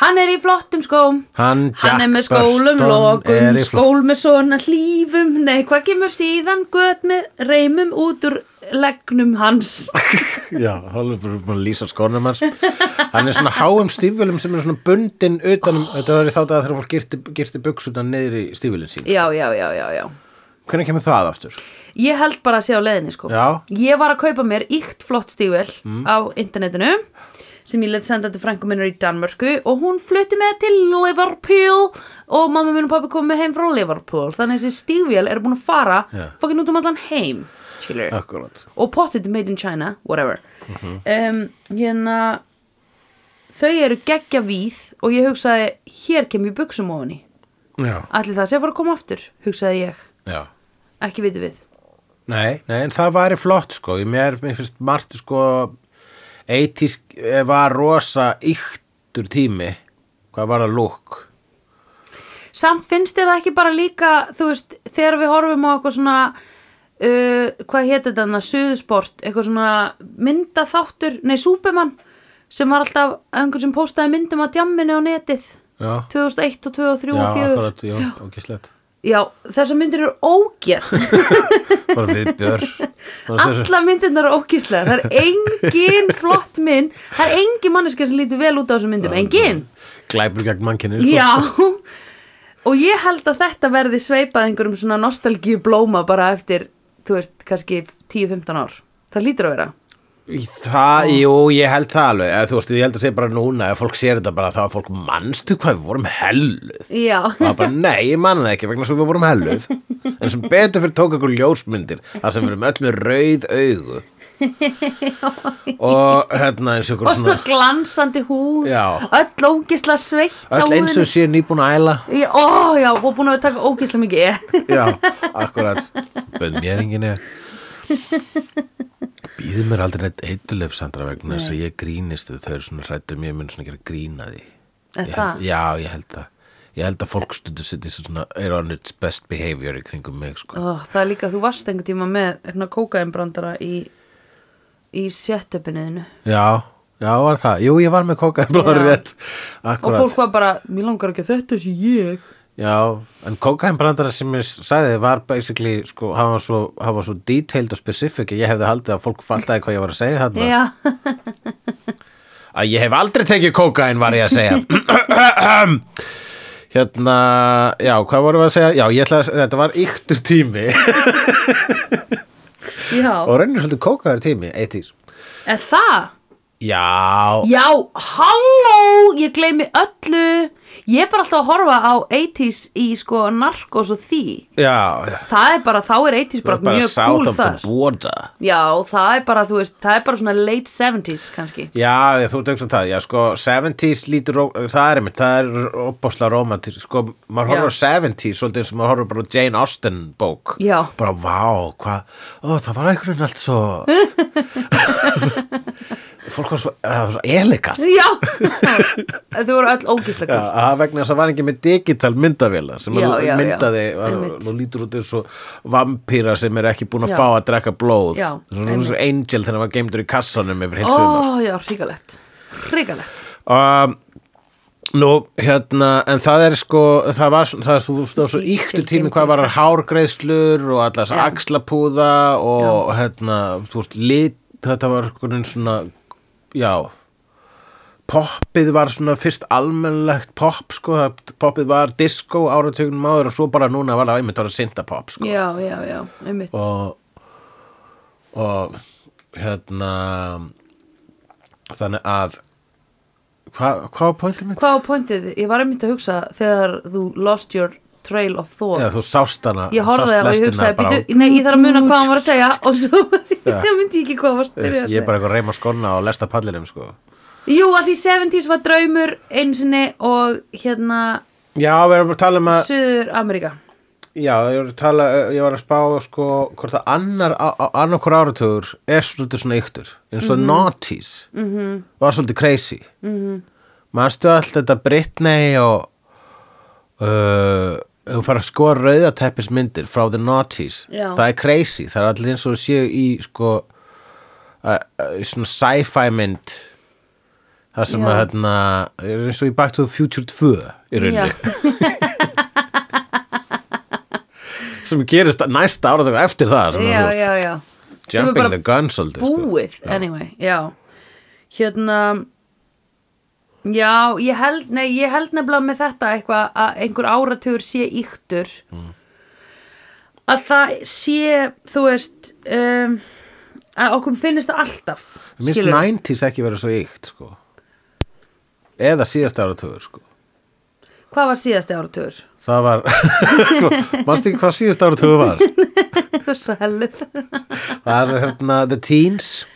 [SPEAKER 2] Hann er í flottum skóm
[SPEAKER 1] Hann,
[SPEAKER 2] Hann er
[SPEAKER 1] Jack
[SPEAKER 2] með skólum,
[SPEAKER 1] Burton, er
[SPEAKER 2] lokum,
[SPEAKER 1] í flott-
[SPEAKER 2] skól með svona hlífum Nei, hvað kemur síðan gött með reymum út úr legnum hans
[SPEAKER 1] Já, hann er bara búin að lýsa skónum hans Hann er svona háum stífvölum sem er svona bundin utanum Þetta var í þá dag þegar fólk girti, girti buksutan niður í stífvölin sín
[SPEAKER 2] Já, já, já, já, já
[SPEAKER 1] Hvernig kemur það aftur?
[SPEAKER 2] Ég held bara að sé á leiðinni sko
[SPEAKER 1] Já.
[SPEAKER 2] Ég var að kaupa mér íkt flott stígvel á internetinu sem ég let senda til frænku minnur í Danmörku og hún flutti með til Liverpool og mamma minn og pappi komið með heim frá Liverpool þannig að þessi stígvel er búin að fara
[SPEAKER 1] Já.
[SPEAKER 2] fokkin út um allan heim skilur
[SPEAKER 1] Akkurat
[SPEAKER 2] og pottit made in China, whatever um, hérna þau eru geggja víð og ég hugsaði, hér kem ég buksum ofan í
[SPEAKER 1] Já,
[SPEAKER 2] allir það sé að fara að koma aftur hugsaði ég,
[SPEAKER 1] já
[SPEAKER 2] ekki viti við
[SPEAKER 1] Nei, nei, en það væri flott sko Ég mér, mér finnst margt sko 80s var rosa yktur tími Hvað var það lúk?
[SPEAKER 2] samt finnst þér það ekki bara líka þú veist, þegar við horfum á eitthvað svona uh, hvað hétt þetta annað, suðusport, eitthvað svona myndaþáttur, nei, Súpemann sem var alltaf einhver sem postaði myndum á djamminu á netið
[SPEAKER 1] Já,
[SPEAKER 2] 2001 og 2003 og
[SPEAKER 1] já,
[SPEAKER 2] 2004
[SPEAKER 1] akkurat, já, ógislegt
[SPEAKER 2] já, þessar myndir eru ógeð
[SPEAKER 1] [LAUGHS] Bara
[SPEAKER 2] [LAUGHS]
[SPEAKER 1] viðbjör
[SPEAKER 2] Alla myndirnar eru ókíslega Það er engin flott mynd Það er engin manneska sem lítur vel út á þessum myndum Engin,
[SPEAKER 1] Glæpur gegn mannkynni sko.
[SPEAKER 2] já Og ég held að þetta verði sveipað einhverjum svona nostalgíu blóma bara eftir, þú veist, kannski 10-15 ár Það lítur að vera
[SPEAKER 1] Í Það, jú, ég held það alveg eða, Þú veist, ég held að segja bara núna ef fólk sér þetta bara þá að fólk manstu hvað við vorum helluð og
[SPEAKER 2] Já,
[SPEAKER 1] það er bara, nei, ég man það ekki vegna svo við vorum helluð en sem betur fyrir tók ykkur ljósmyndir það sem við erum öll með rauð augu og hérna eins og
[SPEAKER 2] og
[SPEAKER 1] ykkur
[SPEAKER 2] svona
[SPEAKER 1] svona
[SPEAKER 2] glansandi húð
[SPEAKER 1] Já.
[SPEAKER 2] Öll ókíslega sveitt á
[SPEAKER 1] öll eins
[SPEAKER 2] húðinu
[SPEAKER 1] og séu nýbúin að æla
[SPEAKER 2] Já, Ó, já, og búin að taka ókíslega mikið E.
[SPEAKER 1] [LAUGHS] Já, akkurat Böð mér enginn er Býður mér aldrei neitt eitulef Sandra vegna þess að ég grínist þau eru svona hrættu mér mun svona gera grína því
[SPEAKER 2] Er
[SPEAKER 1] Ég
[SPEAKER 2] það?
[SPEAKER 1] held, Já, ég held það Ég held að fólk stundu sitt í svona er on its best behavior í kringum mig sko.
[SPEAKER 2] Ó, það er líka, þú varst einhvern tíma með kókainbrandara í, í setupinu
[SPEAKER 1] Já, já var það Jú, ég var með kókaði blóður
[SPEAKER 2] Já.
[SPEAKER 1] rétt
[SPEAKER 2] og
[SPEAKER 1] Akkurat
[SPEAKER 2] fólk var bara, mér langar ekki að þetta sé ég
[SPEAKER 1] Já, en kókainbrandara sem ég sagði var basically, sko, hann var svo, hann var svo detailed og specific að ég hefði haldið að fólk fattaði hvað ég var að segja hann
[SPEAKER 2] já,
[SPEAKER 1] að ég hef aldrei tekið kókain var ég að segja [CLEARS THROAT] hérna, já, hvað vorum við að segja já, ég ætla að, þetta var yktur tími
[SPEAKER 2] já,
[SPEAKER 1] og reynir svolítið kókaður tími 80s,
[SPEAKER 2] er það?
[SPEAKER 1] já,
[SPEAKER 2] já, halló ég gleymi öllu ég er bara alltaf að horfa á 80s í sko narkos og því
[SPEAKER 1] já
[SPEAKER 2] það er bara, þá er 80s bara, mjög
[SPEAKER 1] south
[SPEAKER 2] cool
[SPEAKER 1] of
[SPEAKER 2] þar
[SPEAKER 1] the border
[SPEAKER 2] já, það er bara, þú veist, það er bara svona late 70s kannski
[SPEAKER 1] Já, ég, þú ert auðvitað það, já sko 70s lítur, ró- það er einmitt, það er opbásla romantísk, sko, maður horfir á 70s svolítið eins og maður horfir bara á Jane Austen bók
[SPEAKER 2] Já.
[SPEAKER 1] Bara, vá, hvað, ó, það var einhvern veginn allt svo
[SPEAKER 2] [LAUGHS]
[SPEAKER 1] Fólk var svo, það var svo elegant [LAUGHS]
[SPEAKER 2] já, þau voru öll ógíslega
[SPEAKER 1] Já, það er vegna þess að það var ekki með digital myndavila sem
[SPEAKER 2] Já,
[SPEAKER 1] að
[SPEAKER 2] já, já,
[SPEAKER 1] myndaði að-
[SPEAKER 2] einmitt.
[SPEAKER 1] nú lítur út eins og vampýra sem er ekki búin að
[SPEAKER 2] Já.
[SPEAKER 1] fá að drekka blóð
[SPEAKER 2] Já,
[SPEAKER 1] Svo- svo- svo angel þegar hann var geimdur í kassanum yfir
[SPEAKER 2] ó,
[SPEAKER 1] heilsum oh.
[SPEAKER 2] já, hrigalegt hrigalegt
[SPEAKER 1] um, Nú, hérna, en það er sko, það var, svo- það, það, það var svo
[SPEAKER 2] Í-
[SPEAKER 1] yktu
[SPEAKER 2] til-
[SPEAKER 1] tími hvað var hárgreiðslur og allas
[SPEAKER 2] Já.
[SPEAKER 1] axlapúða og hérna, þú veist, lit, þetta var einhvern veginn svona, já, poppið var svona fyrst almennlegt popp, sko, það- poppið var disco áratugnum áður og svo bara núna var það einmitt var að synda popp, sko
[SPEAKER 2] já, já, já, einmitt
[SPEAKER 1] og, og hérna þannig að hvað hva var pointið mitt?
[SPEAKER 2] Hvað var pointið? Ég var einmitt að hugsa þegar þú lost your trail of thoughts.
[SPEAKER 1] Já, þú sást hana
[SPEAKER 2] ég horfði
[SPEAKER 1] sást
[SPEAKER 2] það og ég
[SPEAKER 1] lestina
[SPEAKER 2] hugsaði,
[SPEAKER 1] bara á-
[SPEAKER 2] býtu, nei, ég þarf að muna hvað hann var að
[SPEAKER 1] [LAUGHS]
[SPEAKER 2] segja og svo [LAUGHS]
[SPEAKER 1] Já.
[SPEAKER 2] það myndi ég ekki hvað hann var að
[SPEAKER 1] Ég
[SPEAKER 2] byrja að
[SPEAKER 1] ég er
[SPEAKER 2] segja.
[SPEAKER 1] bara eitthvað að reyma skona og lesta pallinum sko.
[SPEAKER 2] Jú, að því 70s var draumur einu sinni og hérna
[SPEAKER 1] Já, við erum að tala um að
[SPEAKER 2] Suður Ameríka.
[SPEAKER 1] Já, ég var að, tala, ég var að spá sko, hvort að annar, annarkur áratugur er svolítið svona yktur eins
[SPEAKER 2] Mhm.
[SPEAKER 1] og mm noughties -hmm. var svolítið crazy mm -hmm. manstu allt þetta Britney og uh, þú fara að sko rauðateppismyndir frá the noughties
[SPEAKER 2] Já.
[SPEAKER 1] það er crazy, það er allir eins og séu í sko uh, uh, svona sci-fi mynd það sem
[SPEAKER 2] Já.
[SPEAKER 1] að hérna er eins og í Back to the Future 2 í [LAUGHS]
[SPEAKER 2] Já.
[SPEAKER 1] rauninni sem gerist næsta ára eftir það sem er
[SPEAKER 2] já,
[SPEAKER 1] svona
[SPEAKER 2] já, já Sem er
[SPEAKER 1] jumping
[SPEAKER 2] bara
[SPEAKER 1] the gun svolítið sko.
[SPEAKER 2] búið, anyway, já hérna já, ég held, nei, ég held nefnilega með þetta eitthvað að einhver áratugur sé yktur
[SPEAKER 1] Mm.
[SPEAKER 2] að það sé þú veist um, að okkur finnist það alltaf
[SPEAKER 1] Mér finnst
[SPEAKER 2] skilurðu.
[SPEAKER 1] 90s ekki verið svo ykt sko. eða síðasta áratugur sko.
[SPEAKER 2] hvað var síðasti áratugur? [LAUGHS]
[SPEAKER 1] það var [LAUGHS] mannst ekki hvað síðasta áratugur var
[SPEAKER 2] þú er svo helluð
[SPEAKER 1] það er hérna The Teens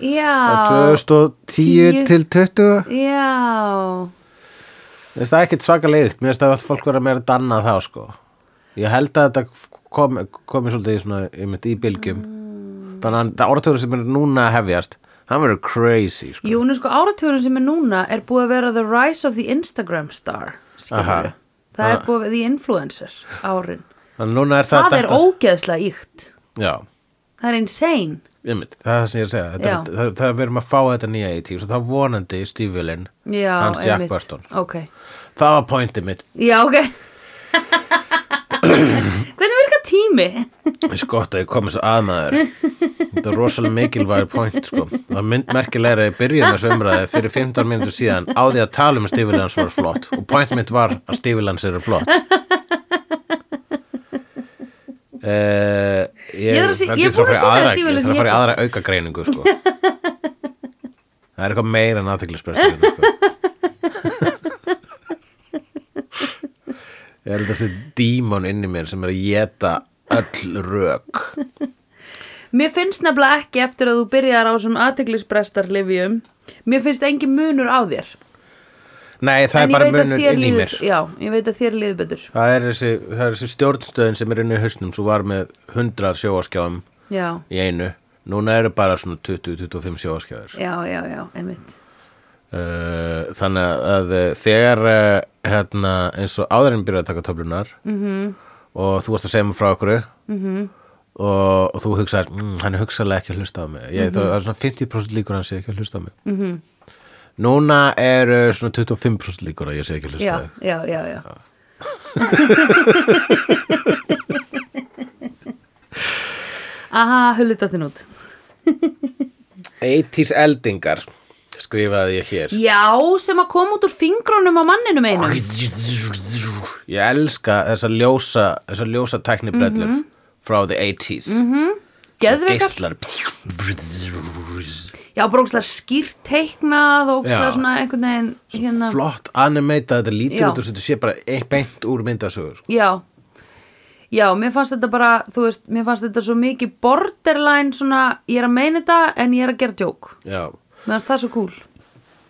[SPEAKER 2] já,
[SPEAKER 1] 2010
[SPEAKER 2] 10.
[SPEAKER 1] til 20
[SPEAKER 2] já
[SPEAKER 1] Mér finnst það ekkert svakalega ykt mér finnst það að fólk vera meira dannað þá sko. ég held að þetta kom, komi svolítið í, svona, einmitt, í bylgjum
[SPEAKER 2] Mm.
[SPEAKER 1] þannig að það áratugur sem er núna að hefjast hann verður crazy sko.
[SPEAKER 2] Jú, nú sko áratugurinn sem er núna er búið að vera the rise of the Instagram star skilurðu.
[SPEAKER 1] Aha.
[SPEAKER 2] það er
[SPEAKER 1] Ah.
[SPEAKER 2] búið að the influencer árin
[SPEAKER 1] þannig að núna er það,
[SPEAKER 2] það, er ógeðslega ykt
[SPEAKER 1] Já.
[SPEAKER 2] það er insane
[SPEAKER 1] Einmitt, það er það sem ég er að segja þetta,
[SPEAKER 2] Já.
[SPEAKER 1] er- það, það verðum að fá þetta nýja í tíu þá vonandi stífulinn
[SPEAKER 2] já,
[SPEAKER 1] hans Jack
[SPEAKER 2] einmitt.
[SPEAKER 1] Burton
[SPEAKER 2] ok,
[SPEAKER 1] það var pointið mitt
[SPEAKER 2] já
[SPEAKER 1] [LAUGHS]
[SPEAKER 2] ok hvernig virkar tími
[SPEAKER 1] ég skott að ég komið svo aðmaður þetta er rosalega mikilvægur point sko. það var myndmerkilegra að ég byrjaði þessu umræði fyrir 15 minntur síðan á því að tala um að stífulinn hans var flott og point mitt var að stífulinn hans eru flott Uh, ég,
[SPEAKER 2] Ég er að sé-
[SPEAKER 1] held
[SPEAKER 2] ég er
[SPEAKER 1] þurfi
[SPEAKER 2] búin að
[SPEAKER 1] fara í
[SPEAKER 2] setja
[SPEAKER 1] aðra-
[SPEAKER 2] stígvélin
[SPEAKER 1] Ég
[SPEAKER 2] sem
[SPEAKER 1] þarf að fara í
[SPEAKER 2] ég-
[SPEAKER 1] aðra auka greiningu sko. Það er eitthvað meira en aðteglisbrestu sko. Ég er þessi dímon inn í mér sem er að geta öll rök.
[SPEAKER 2] mér finnst nefnilega ekki eftir að þú byrjar á sem aðteglisbrestar livjum mér finnst engin munur á þér
[SPEAKER 1] Nei, það
[SPEAKER 2] en
[SPEAKER 1] er
[SPEAKER 2] ég
[SPEAKER 1] bara
[SPEAKER 2] veit að
[SPEAKER 1] munur
[SPEAKER 2] þér
[SPEAKER 1] inn í
[SPEAKER 2] líður-
[SPEAKER 1] mér.
[SPEAKER 2] já, ég veit að þér liður betur
[SPEAKER 1] Það er þessi, það er þessi stjórnstöðin sem er inn í hausnum svo var með 100 sjóaskjáum
[SPEAKER 2] já,
[SPEAKER 1] í einu. Núna eru bara svona 20-25 sjóaskjáður.
[SPEAKER 2] já, já, já, einmitt
[SPEAKER 1] Uh, þannig að uh, þegar uh, hérna, eins og áðurinn byrjaði að taka töflunar -hmm.
[SPEAKER 2] Mhm.
[SPEAKER 1] og þú varst að segja mér frá okkur -hmm. og, og þú hugsaðir mmm, hann er hugsaðlega ekki að hlusta á mig
[SPEAKER 2] Mhm.
[SPEAKER 1] ég, það er svona 50% líkur að hann sé ekki að hlusta á mig -hmm. núna eru svona 25% líkur að ég sé ekki að hlusta á
[SPEAKER 2] já,
[SPEAKER 1] þig
[SPEAKER 2] já, já, já [LAUGHS] Aha, hullu dottin út
[SPEAKER 1] 80s eldingar skrifaði ég hér
[SPEAKER 2] Já, sem að koma út úr fingrunum á manninum einum
[SPEAKER 1] ég elska þessa ljósa þessa ljósa tæknibrellur
[SPEAKER 2] Mhm.
[SPEAKER 1] frá the 80s mm -hmm.
[SPEAKER 2] Geðveikar
[SPEAKER 1] geislar
[SPEAKER 2] Já, bara ókslega skýrt teiknað og ókslega
[SPEAKER 1] Já.
[SPEAKER 2] svona einhvern veginn hérna.
[SPEAKER 1] flott animeitað, þetta lítur
[SPEAKER 2] Já.
[SPEAKER 1] út og þetta sé bara einn beint úr myndasögur sko.
[SPEAKER 2] Já Já, mér fannst þetta bara, þú veist, mér fannst þetta svo mikið borderline svona, ég er að meina þetta en ég er að gera djók
[SPEAKER 1] já.
[SPEAKER 2] Mér fannst það svo cool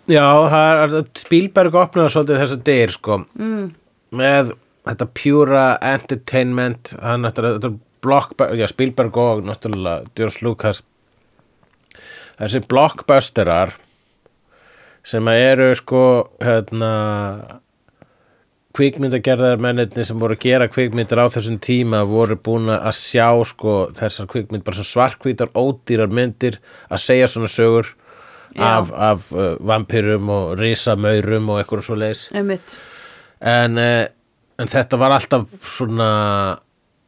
[SPEAKER 1] já, það er Spielberg opnaði svolítið þessa dyr sko. mm. með þetta pjúra entertainment hann náttúrulega- þetta er blockbuster já, Spielberg og náttúrulega Djurs Lucas þessi blockbusterar sem að eru sko hérna kvikmyndagerðar mennirni sem voru að gera kvikmyndir á þessum tíma voru búin að sjá sko þessar kvikmynd bara svona svarkvítar ódýrar myndir að segja svona sögur
[SPEAKER 2] Já.
[SPEAKER 1] af, af uh, vampirum og risamaurum og eitthvað svo leis
[SPEAKER 2] Einmitt
[SPEAKER 1] en, uh, en þetta var alltaf svona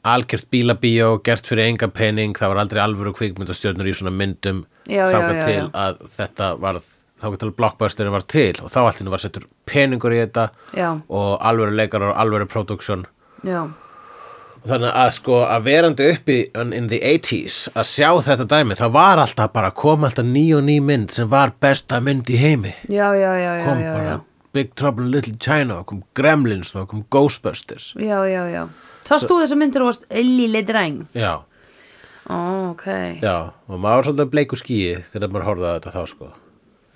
[SPEAKER 1] algjört bílabíó, gert fyrir enga pening það var aldrei alvöru kvikmyndastjörnur í svona myndum
[SPEAKER 2] Já, já,
[SPEAKER 1] þangað
[SPEAKER 2] já,
[SPEAKER 1] til
[SPEAKER 2] já.
[SPEAKER 1] að þetta varð þangað til að blockbusterin var til og þá allir var settur peningur í þetta
[SPEAKER 2] Já.
[SPEAKER 1] og alvöru leikarar og alvöru production
[SPEAKER 2] Já,
[SPEAKER 1] og þannig að sko að verandi uppi in in the 80s að sjá þetta dæmi það var alltaf bara kom alltaf ný og ný mynd sem var besta mynd í heimi
[SPEAKER 2] já, já, já, já,
[SPEAKER 1] kom
[SPEAKER 2] já,
[SPEAKER 1] bara
[SPEAKER 2] já.
[SPEAKER 1] Big Trouble in Little China og kom Gremlins og kom Ghostbusters
[SPEAKER 2] Já, já, já. Sást þú þessar myndir og varst lille dreng?
[SPEAKER 1] Já,
[SPEAKER 2] Ó, ok.
[SPEAKER 1] já, og maður var svolítið bleiku skýi þegar maður horfði á þetta þá sko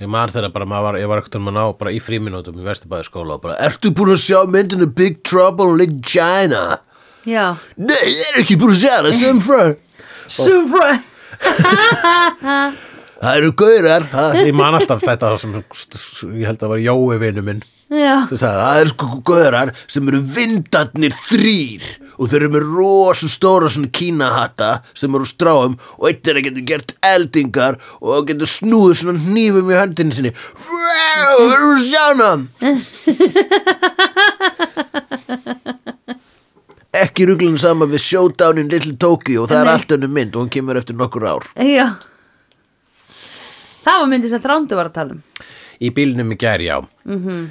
[SPEAKER 1] Ég man þegar bara, maður var, ég var ekkert um að ná bara í fríminútum í Vesturbæði skóla og bara Ertu búin að sjá myndinu Big Trouble in Little China?
[SPEAKER 2] Já.
[SPEAKER 1] Nei, ég er ekki búin að sjá það, sem frá
[SPEAKER 2] Soon for...
[SPEAKER 1] Það eru gaurar ha?
[SPEAKER 2] [LAUGHS]
[SPEAKER 1] Ég man alltaf þetta sem ég held að var Jói vinnu minn
[SPEAKER 2] Já.
[SPEAKER 1] sem sagði það eru sko gaurar sem eru vindarnir þrýr og þeir eru með rosa stóra svona kínahatta sem eru úr stráum og eitt er að getur gert eldingar og getur snúið svona hnífum í höndinni sinni Vrá! við verðum að sjá hann ekki ruglun sama við Showdown in Little Tokyo það er
[SPEAKER 2] Nei.
[SPEAKER 1] allt önnum mynd og hún kemur eftir nokkur ár
[SPEAKER 2] Já Það var myndið sem þrándu var að tala um
[SPEAKER 1] í bílnum í gær, já -hmm.
[SPEAKER 2] Mhm.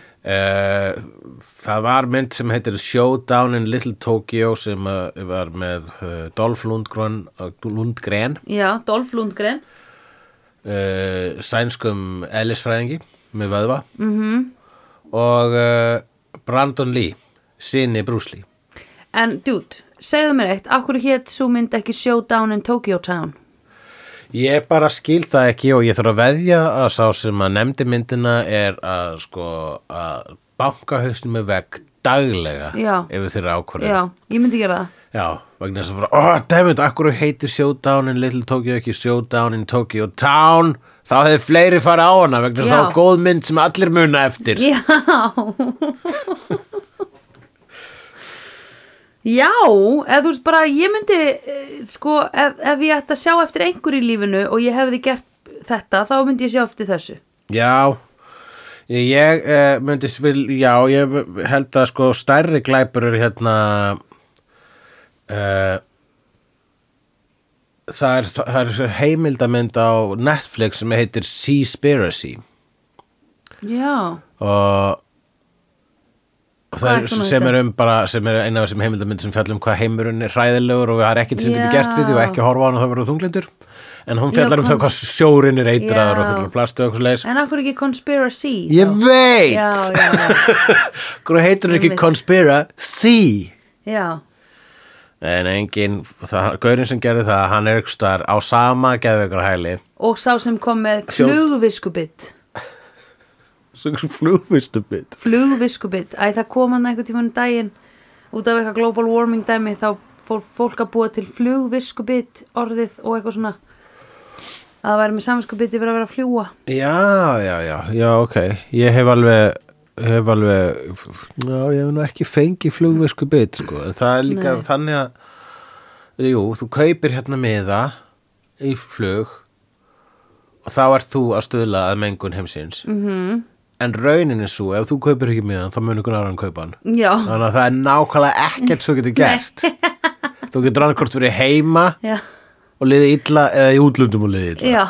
[SPEAKER 1] það var mynd sem heitir Showdown in Little Tokyo sem uh, var með uh, Dolph Lundgren, uh, Lundgren
[SPEAKER 2] Já, Dolph Lundgren
[SPEAKER 1] uh, sænskum ellisfræðingi með vöðva -hmm.
[SPEAKER 2] Mhm.
[SPEAKER 1] og uh, Brandon Lee sinni Bruce Lee
[SPEAKER 2] En dude, segðu mér eitt Akkur hétt svo mynd ekki Showdown in Tokyo Town
[SPEAKER 1] Ég bara skil það ekki og ég þarf að veðja að sá sem að nefndi myndina er að sko að banka haustum með vegg daglega
[SPEAKER 2] Já.
[SPEAKER 1] ef við þeirra ákvörðum
[SPEAKER 2] Já, ég myndi gera það
[SPEAKER 1] Já, vegna þess að bara, oh, dammit, akkur heitir Showdown in Little Tokyo ekki Showdown in Tokyo Town þá hefði fleiri fara á hana vegna þess að
[SPEAKER 2] Já.
[SPEAKER 1] það var góð mynd sem allir muna eftir
[SPEAKER 2] Já [LAUGHS] Já, eða þú veist bara ég myndi eh, sko ef, ef ég ætti að sjá eftir einhverju í lífinu og ég hefði gert þetta þá myndi ég sjá eftir þessu
[SPEAKER 1] Já, ég eh, myndi vil, já, ég held að sko stærri glæpur er hérna eh, það er, það er heimildamynd á Netflix sem heitir Seaspiracy
[SPEAKER 2] Já,
[SPEAKER 1] og
[SPEAKER 2] Hvað
[SPEAKER 1] það
[SPEAKER 2] ætti
[SPEAKER 1] er,
[SPEAKER 2] hún að
[SPEAKER 1] sem
[SPEAKER 2] heita?
[SPEAKER 1] er um bara sem er eina af þessum heimildamynd sem fjallum hvað heimurinn er hræðilegur og það er ekkert sem getur gert við því og
[SPEAKER 2] Já.
[SPEAKER 1] ekki horfa á hana þá verður þunglindur en hún
[SPEAKER 2] Já,
[SPEAKER 1] fjallar um það
[SPEAKER 2] komst-
[SPEAKER 1] hvað sjórinn er eitraður og
[SPEAKER 2] Já.
[SPEAKER 1] fyrir plastu og okkur leis
[SPEAKER 2] en akkur ekki Conspiracy
[SPEAKER 1] ég
[SPEAKER 2] þá?
[SPEAKER 1] veit
[SPEAKER 2] Já, já,
[SPEAKER 1] [LAUGHS]
[SPEAKER 2] já,
[SPEAKER 1] Hvað heitur hún ekki
[SPEAKER 2] Einmitt.
[SPEAKER 1] Conspiracy?
[SPEAKER 2] já.
[SPEAKER 1] En engin, það, gaurin sem gerði það, hann er ykkur staðar á sama geðveikra hæli.
[SPEAKER 2] og sá sem kom með
[SPEAKER 1] Sjó-
[SPEAKER 2] flugviskubitt
[SPEAKER 1] Svo ykkur flugvistu bit.
[SPEAKER 2] flugviskubitt, æ það kom hann einhvern tímann um daginn út af eitthvað global warming dæmi þá fór fólk að búa til flugviskubitt orðið og eitthvað svona að það væri með samviskubitt yfir að vera að fljúa
[SPEAKER 1] Já, já, já, já, ok. Ég hef alveg, hef alveg, já, ég hef nú ekki fengið flugvisku bit, sko. En það er líka
[SPEAKER 2] Nei.
[SPEAKER 1] þannig að, jú, þú kaupir hérna miða í flug og þá ert þú að stuðla að mengun heimsins. Mm -hmm.
[SPEAKER 2] Mhm.
[SPEAKER 1] En raunin er svo, ef þú kaupir ekki miðan, þá mun ykkur aðra hann kaupa hann.
[SPEAKER 2] já,
[SPEAKER 1] Þannig að það er nákvæmlega ekkert svo getur gert Þú getur annarkort verið heima
[SPEAKER 2] já,
[SPEAKER 1] og liðið illa eða í útlöndum og liðið illa
[SPEAKER 2] já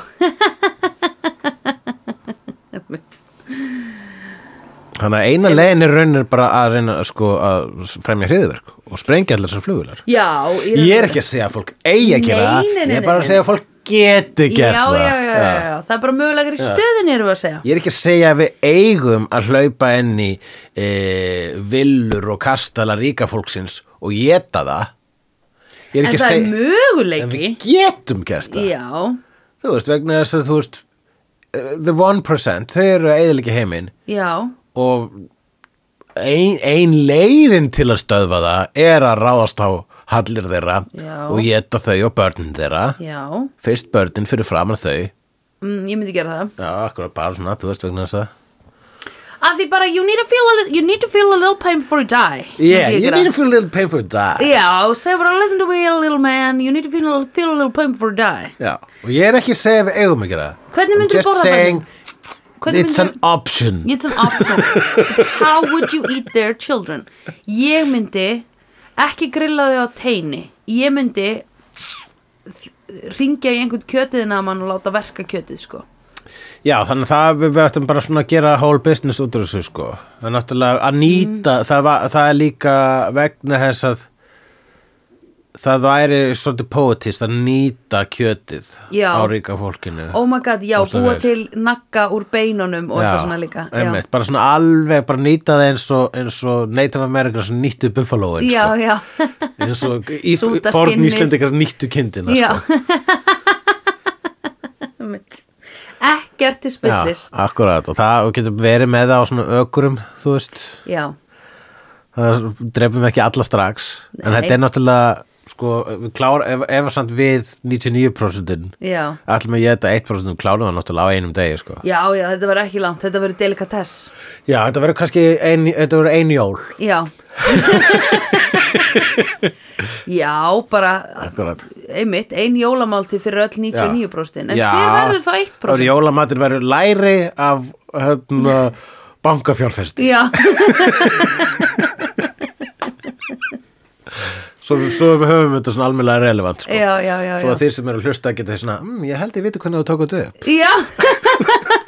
[SPEAKER 1] Þannig að eina leiðin er raunir bara að reyna sko, að fremja hriðverk og sprengja allar þessar flugular
[SPEAKER 2] já,
[SPEAKER 1] Ég er ekki að segja að fólk eigi að gera
[SPEAKER 2] Nei, nei,
[SPEAKER 1] það
[SPEAKER 2] nei,
[SPEAKER 1] Ég er bara
[SPEAKER 2] nei,
[SPEAKER 1] að segja að fólk geti
[SPEAKER 2] já,
[SPEAKER 1] gert
[SPEAKER 2] já,
[SPEAKER 1] það
[SPEAKER 2] já, já, já, já, það er bara mögulegur í stöðinni erum við að segja
[SPEAKER 1] Ég er ekki að segja að við eigum að hlaupa inn í e, villur og kastala ríka fólksins og geta það Ég er
[SPEAKER 2] en
[SPEAKER 1] ekki að
[SPEAKER 2] það er
[SPEAKER 1] segja En
[SPEAKER 2] möguleiki
[SPEAKER 1] við getum gert það
[SPEAKER 2] já,
[SPEAKER 1] þú veist, vegna þess að þú veist uh, the 1% þau eru að eðliki heiminn
[SPEAKER 2] já
[SPEAKER 1] og ein, ein leiðin til að stöðva það er að ráðast á hallir þeirra
[SPEAKER 2] Já.
[SPEAKER 1] og geta þau og börnin þeirra
[SPEAKER 2] Já,
[SPEAKER 1] fyrst börnin fyrir framar þau
[SPEAKER 2] mm, ég myndi gera það
[SPEAKER 1] já, akkurat bara svona, þú veist, vegna þess að
[SPEAKER 2] Af því bara, you need to feel a, li- you need to feel a little pain before you die
[SPEAKER 1] yeah,
[SPEAKER 2] myndi ég
[SPEAKER 1] you
[SPEAKER 2] gera.
[SPEAKER 1] need to feel a little pain for that
[SPEAKER 2] Já, segja bara, oh, listen to me little man You need to feel, feel a little pain before you die
[SPEAKER 1] já, og ég er ekki að segja við eigum ekki það
[SPEAKER 2] Hvernig
[SPEAKER 1] I'm
[SPEAKER 2] myndirðu
[SPEAKER 1] just
[SPEAKER 2] borða
[SPEAKER 1] saying,
[SPEAKER 2] Hvernig
[SPEAKER 1] it's an
[SPEAKER 2] myndir,
[SPEAKER 1] option
[SPEAKER 2] It's an option But How would you eat their children? Ég myndi ekki grilla þau á teini Ég myndi ringja í einhvern kjötiðin að mann og láta verka kjötið sko
[SPEAKER 1] Já, þannig að það við, við ættum bara svona að gera whole business út úr þessu sko. Það er náttúrulega að nýta,
[SPEAKER 2] Mm.
[SPEAKER 1] það, var, það er líka vegna þess að það væri svolítið poetist að nýta kjötið
[SPEAKER 2] Já.
[SPEAKER 1] á ríka fólkinu.
[SPEAKER 2] Oh my god, já,
[SPEAKER 1] Rosa
[SPEAKER 2] búa
[SPEAKER 1] vel.
[SPEAKER 2] til nakka úr beinunum og eitthvað svona líka já.
[SPEAKER 1] Einmitt, bara svona alveg, bara nýta það eins og, eins og Native Americans nýttu buffaloin
[SPEAKER 2] já,
[SPEAKER 1] sko.
[SPEAKER 2] já
[SPEAKER 1] eins og í
[SPEAKER 2] [LAUGHS] Súta
[SPEAKER 1] forn
[SPEAKER 2] skinnið.
[SPEAKER 1] íslendikar nýttu kindina
[SPEAKER 2] Já
[SPEAKER 1] sko.
[SPEAKER 2] [LAUGHS] Einmitt. Ekkert til spillis
[SPEAKER 1] akkurat og það og getur verið með það á svona ökurum, þú veist
[SPEAKER 2] Já,
[SPEAKER 1] það drefum ekki alla strax en
[SPEAKER 2] Nei.
[SPEAKER 1] þetta er náttúrulega sko, við klár, ef, ef að samt við 99%
[SPEAKER 2] já,
[SPEAKER 1] ætlum að geta 1% klárum það náttúrulega á einum degi sko.
[SPEAKER 2] já, já, þetta var ekki langt, þetta verður delikatess
[SPEAKER 1] já, þetta verður kannski ein, þetta verður ein jól
[SPEAKER 2] Já [LAUGHS] Já, bara
[SPEAKER 1] akkurat
[SPEAKER 2] einmitt, ein jólamáltíð fyrir öll 99% en
[SPEAKER 1] Já.
[SPEAKER 2] hver verður þá
[SPEAKER 1] Það verður
[SPEAKER 2] 1%?
[SPEAKER 1] jólamatur verður læri af hérna, bankafjárfesti
[SPEAKER 2] já,
[SPEAKER 1] svo, svo við höfum þetta svona almennlega relevant sko.
[SPEAKER 2] já, já, já,
[SPEAKER 1] svo
[SPEAKER 2] já.
[SPEAKER 1] að þeir sem eru að hlusta geta svona mmm, ég held ég viti hvernig þú tók þetta upp
[SPEAKER 2] já.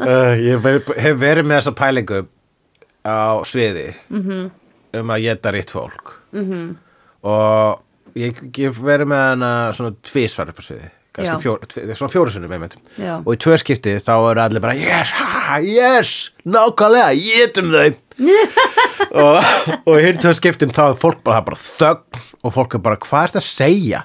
[SPEAKER 1] uh, ég ver, hef verið með þessa pælingu á sviði -hmm. um að geta rétt fólk -hmm. og ég hef verið með hana svona tvísvar upp á
[SPEAKER 2] Já.
[SPEAKER 1] sviði kannski fjór, tvi, svona fjóru sinni með
[SPEAKER 2] Já.
[SPEAKER 1] og í tvö skipti þá eru allir bara yes, ha, yes, nákvæmlega, getum
[SPEAKER 2] [LAUGHS]
[SPEAKER 1] þau og, og í hinn tvö skiptum þá er fólk bara, það er bara þögn og fólk er bara hvað er þetta að segja